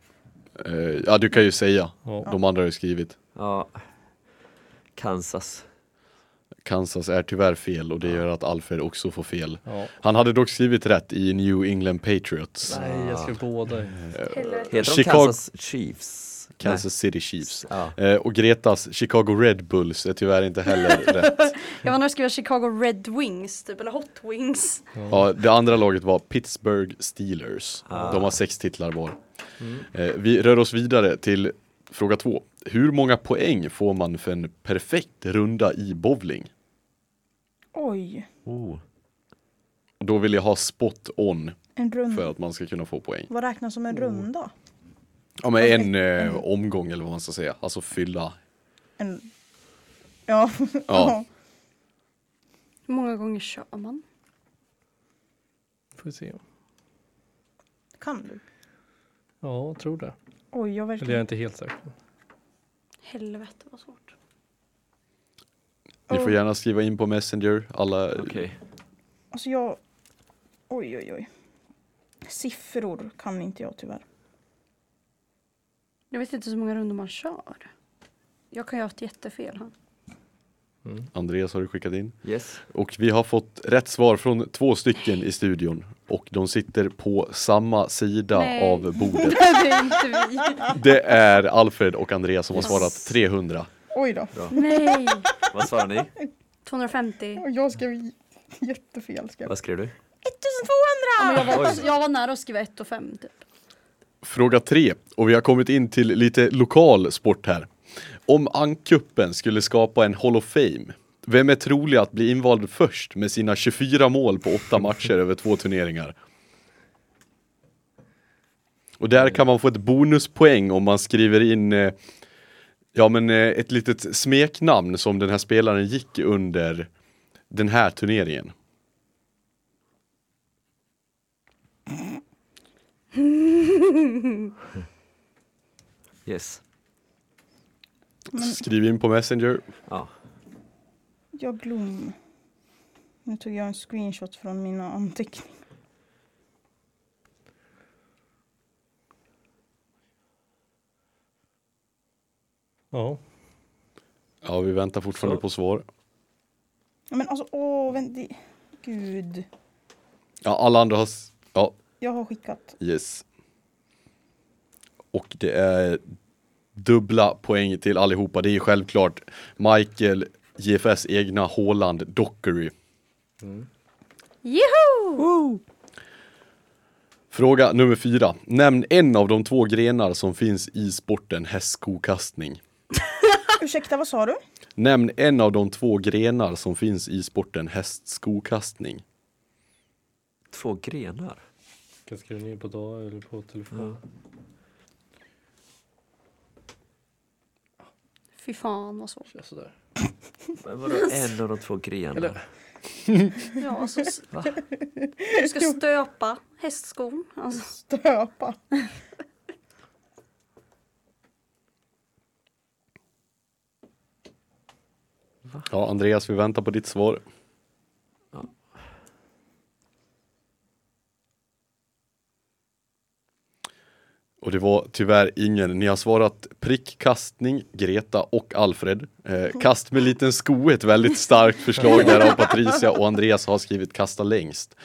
[SPEAKER 5] Eh, ja, du kan ju säga.
[SPEAKER 2] Ja.
[SPEAKER 5] De andra har ju skrivit.
[SPEAKER 4] Ja. Kansas.
[SPEAKER 5] Kansas är tyvärr fel och det gör att Alfred också får fel.
[SPEAKER 2] ja.
[SPEAKER 5] Han hade dock skrivit rätt i New England Patriots.
[SPEAKER 2] Nej, jag skrev båda.
[SPEAKER 4] Heter de
[SPEAKER 5] Chicago-
[SPEAKER 4] Kansas Chiefs?
[SPEAKER 5] Kansas City Chiefs.
[SPEAKER 4] Nej. Ja.
[SPEAKER 5] Eh, och Gretas Chicago Red Bulls är tyvärr inte heller rätt.
[SPEAKER 6] Jag var nära att skriva Chicago Red Wings typ, eller Hot Wings.
[SPEAKER 5] Ja, det andra laget var Pittsburgh Steelers. De har sex titlar var. Eh, vi rör oss vidare till fråga två. Hur många poäng får man för en perfekt runda i bowling?
[SPEAKER 3] Oj.
[SPEAKER 4] Oh.
[SPEAKER 5] Då vill jag ha spot on
[SPEAKER 3] En
[SPEAKER 5] för
[SPEAKER 3] runda.
[SPEAKER 5] att man ska kunna få poäng.
[SPEAKER 3] Vad räknas
[SPEAKER 2] Oh.
[SPEAKER 3] som en runda?
[SPEAKER 5] Ja men en eh, omgång eller vad man ska säga, alltså fylla.
[SPEAKER 3] En... Ja.
[SPEAKER 5] Ja.
[SPEAKER 6] Hur många gånger kör man?
[SPEAKER 2] Får vi se.
[SPEAKER 3] kan du?
[SPEAKER 2] Ja, jag tror det.
[SPEAKER 3] Oj, jag
[SPEAKER 2] Eller jag är
[SPEAKER 3] verkligen...
[SPEAKER 2] inte helt säker.
[SPEAKER 6] Helvete vad svårt.
[SPEAKER 5] Ni får gärna skriva in på Messenger, alla
[SPEAKER 4] Okej.
[SPEAKER 3] Alltså jag... Oj, oj, oj. Siffror kan inte jag tyvärr.
[SPEAKER 6] Jag vet inte så många runder man kör. Jag kan ju ha haft jättefel här.
[SPEAKER 5] Andreas har du skickat in.
[SPEAKER 4] Yes.
[SPEAKER 5] Och vi har fått rätt svar från två stycken i studion. Och de sitter på samma sida
[SPEAKER 6] Nej.
[SPEAKER 5] av bordet.
[SPEAKER 6] Det är inte vi.
[SPEAKER 5] Det är Alfred och Andreas som har
[SPEAKER 4] Yes.
[SPEAKER 5] svarat 300.
[SPEAKER 3] Oj då.
[SPEAKER 6] Nej!
[SPEAKER 4] Vad svarar ni?
[SPEAKER 6] 250.
[SPEAKER 3] Och jag skrev j- jättefel. Skrev. jag.
[SPEAKER 4] Vad skrev du?
[SPEAKER 3] 1200!
[SPEAKER 6] Jag var,
[SPEAKER 4] Oj.
[SPEAKER 6] jag var nära att skriva 1 och 5 typ.
[SPEAKER 5] Fråga 3. Och vi har kommit in till lite lokal sport här. Om Ankuppen skulle skapa en Hall of Fame, vem är trolig att bli invald först med sina 24 mål på 8 matcher över två turneringar? Och där kan man få ett bonuspoäng om man skriver in eh, ja, men, eh, ett litet smeknamn som den här spelaren gick under den här turneringen.
[SPEAKER 4] Yes.
[SPEAKER 5] Skriv in på Messenger.
[SPEAKER 4] Ja.
[SPEAKER 3] Jag glöm. Nu tog jag en screenshot från mina anteckningar.
[SPEAKER 2] Ja.
[SPEAKER 5] Ja, vi väntar fortfarande
[SPEAKER 4] Så.
[SPEAKER 5] på svar.
[SPEAKER 3] Ja, Men alltså, åh, vänta. Gud.
[SPEAKER 5] Ja, alla andra har... s- Ja,
[SPEAKER 3] Jag har skickat.
[SPEAKER 5] Yes. Och det är dubbla poäng till allihopa. Det är ju självklart Michael, JFS egna Haaland Dockery.
[SPEAKER 6] Jeho!
[SPEAKER 5] Fråga nummer fyra. Nämn en av de två grenar som finns i sporten hästskokastning.
[SPEAKER 3] Ursäkta, vad sa du?
[SPEAKER 5] Nämn en av de två grenar som finns i sporten hästskokastning.
[SPEAKER 4] Två grenar.
[SPEAKER 2] Kan skriva ner på dag eller på telefon.
[SPEAKER 6] Fy fan vad svårt.
[SPEAKER 2] Ja. Sådär.
[SPEAKER 4] Men vadå en av de två grenar?
[SPEAKER 2] Eller-
[SPEAKER 6] Ja, alltså, s-
[SPEAKER 4] Va?
[SPEAKER 6] du ska stöpa hästskon. Alltså,
[SPEAKER 3] Stöpa.
[SPEAKER 5] Ja, Andreas, vi väntar på ditt svar. Och det var tyvärr ingen. Ni har svarat prickkastning, Greta och Alfred. Eh, kast med liten sko är ett väldigt starkt förslag där av Patricia och Andreas har skrivit kasta längst.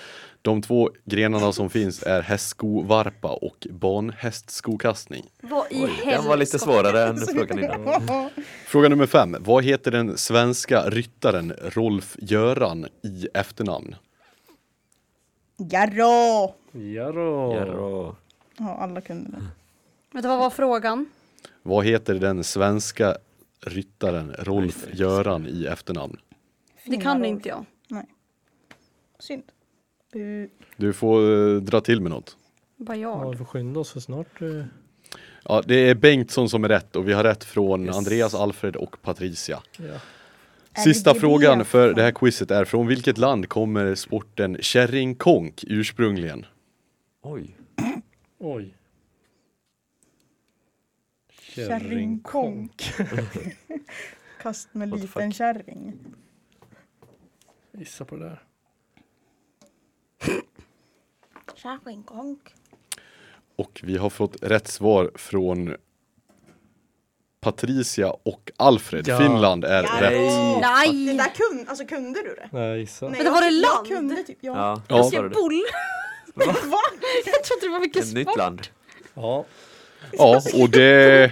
[SPEAKER 5] De två grenarna som finns är hästskovarpa och banhästskokastning.
[SPEAKER 6] vad i
[SPEAKER 4] Oj,
[SPEAKER 6] helvete.
[SPEAKER 4] den var lite svårare än frågan innan.
[SPEAKER 5] Fråga nummer fem. Vad heter den svenska ryttaren Rolf-Göran i efternamn?
[SPEAKER 3] Jarå!
[SPEAKER 2] Ja då.
[SPEAKER 4] Jarå.
[SPEAKER 3] Ja, alla kunde det.
[SPEAKER 6] Vet du vad var frågan?
[SPEAKER 5] Vad heter den svenska ryttaren Rolf-Göran i efternamn?
[SPEAKER 6] Det
[SPEAKER 3] Fina
[SPEAKER 6] kan
[SPEAKER 3] roll.
[SPEAKER 6] inte jag.
[SPEAKER 3] Nej. Synd. Bu.
[SPEAKER 5] Du får eh, dra till med något.
[SPEAKER 6] Bara
[SPEAKER 2] Ja,
[SPEAKER 6] jag.
[SPEAKER 2] vi får skynda oss för snart. eh,
[SPEAKER 5] Ja, det är Bengtsson som är rätt och vi har rätt från
[SPEAKER 4] Yes.
[SPEAKER 5] Andreas, Alfred och Patricia.
[SPEAKER 2] Ja.
[SPEAKER 5] Sista
[SPEAKER 3] RGB,
[SPEAKER 5] frågan för
[SPEAKER 3] fan.
[SPEAKER 5] det här quizet är från vilket land kommer sporten kärringkonk ursprungligen?
[SPEAKER 4] Oj.
[SPEAKER 2] Oj.
[SPEAKER 3] Kärringkonk. Kast med
[SPEAKER 4] What the
[SPEAKER 3] liten
[SPEAKER 4] fuck?
[SPEAKER 3] kärring.
[SPEAKER 2] Gissa på det där.
[SPEAKER 3] Kärringkonk.
[SPEAKER 5] Och vi har fått rätt svar från Patricia och Alfred.
[SPEAKER 2] Ja.
[SPEAKER 5] Finland är
[SPEAKER 3] Ja.
[SPEAKER 5] rätt.
[SPEAKER 4] Nej.
[SPEAKER 3] Det
[SPEAKER 6] Nej!
[SPEAKER 3] där kunde, alltså kunde du det?
[SPEAKER 2] Nej, gissa.
[SPEAKER 3] Nej,
[SPEAKER 6] Men det var
[SPEAKER 3] jag-
[SPEAKER 6] det
[SPEAKER 3] jag
[SPEAKER 6] land?
[SPEAKER 3] kunde typ, ja.
[SPEAKER 4] Ja,
[SPEAKER 5] Ja.
[SPEAKER 4] vad
[SPEAKER 6] Jag ser
[SPEAKER 4] svarade du?
[SPEAKER 6] boll.
[SPEAKER 3] Va?
[SPEAKER 6] Jag trodde det var mycket
[SPEAKER 4] Ett nytt
[SPEAKER 6] sport.
[SPEAKER 4] land.
[SPEAKER 2] Ja,
[SPEAKER 5] Ja, och det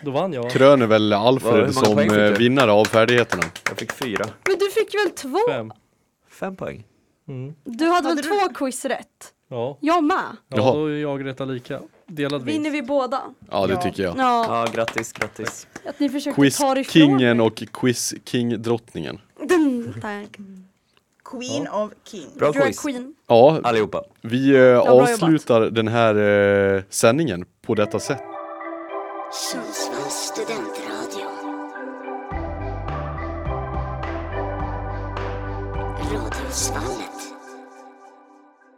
[SPEAKER 2] då vann jag.
[SPEAKER 5] kröner väl
[SPEAKER 4] Vad- hur
[SPEAKER 5] Alfred
[SPEAKER 4] många
[SPEAKER 5] som
[SPEAKER 4] poäng fick
[SPEAKER 5] eh,
[SPEAKER 4] du?
[SPEAKER 5] vinnare av färdigheterna.
[SPEAKER 4] Jag fick fyra.
[SPEAKER 6] Men du fick väl två?
[SPEAKER 2] Fem.
[SPEAKER 4] Fem poäng.
[SPEAKER 2] Mm.
[SPEAKER 6] Du hade väl
[SPEAKER 3] Hade du-
[SPEAKER 6] två quiz rätt?
[SPEAKER 2] Ja.
[SPEAKER 6] Jag med.
[SPEAKER 2] ja,
[SPEAKER 5] Jaha.
[SPEAKER 2] då är jag Greta lika. Delad vinst.
[SPEAKER 6] Vinner vi båda?
[SPEAKER 5] Ja, det
[SPEAKER 3] Ja.
[SPEAKER 5] tycker jag.
[SPEAKER 6] Ja,
[SPEAKER 4] Ja, grattis, grattis.
[SPEAKER 6] att ni försökte ta det ifrån
[SPEAKER 5] Quiz-kingen
[SPEAKER 6] mig.
[SPEAKER 5] och quiz-king-drottningen.
[SPEAKER 6] Dun, tack.
[SPEAKER 3] Queen of King.
[SPEAKER 4] Bra
[SPEAKER 6] Drag
[SPEAKER 4] quiz.
[SPEAKER 6] Queen.
[SPEAKER 5] Ja,
[SPEAKER 4] Allihopa.
[SPEAKER 5] vi eh,
[SPEAKER 6] bra
[SPEAKER 5] avslutar den här eh, sändningen på detta sätt.
[SPEAKER 1] Sundsvalls studentradio. Radiosvallet.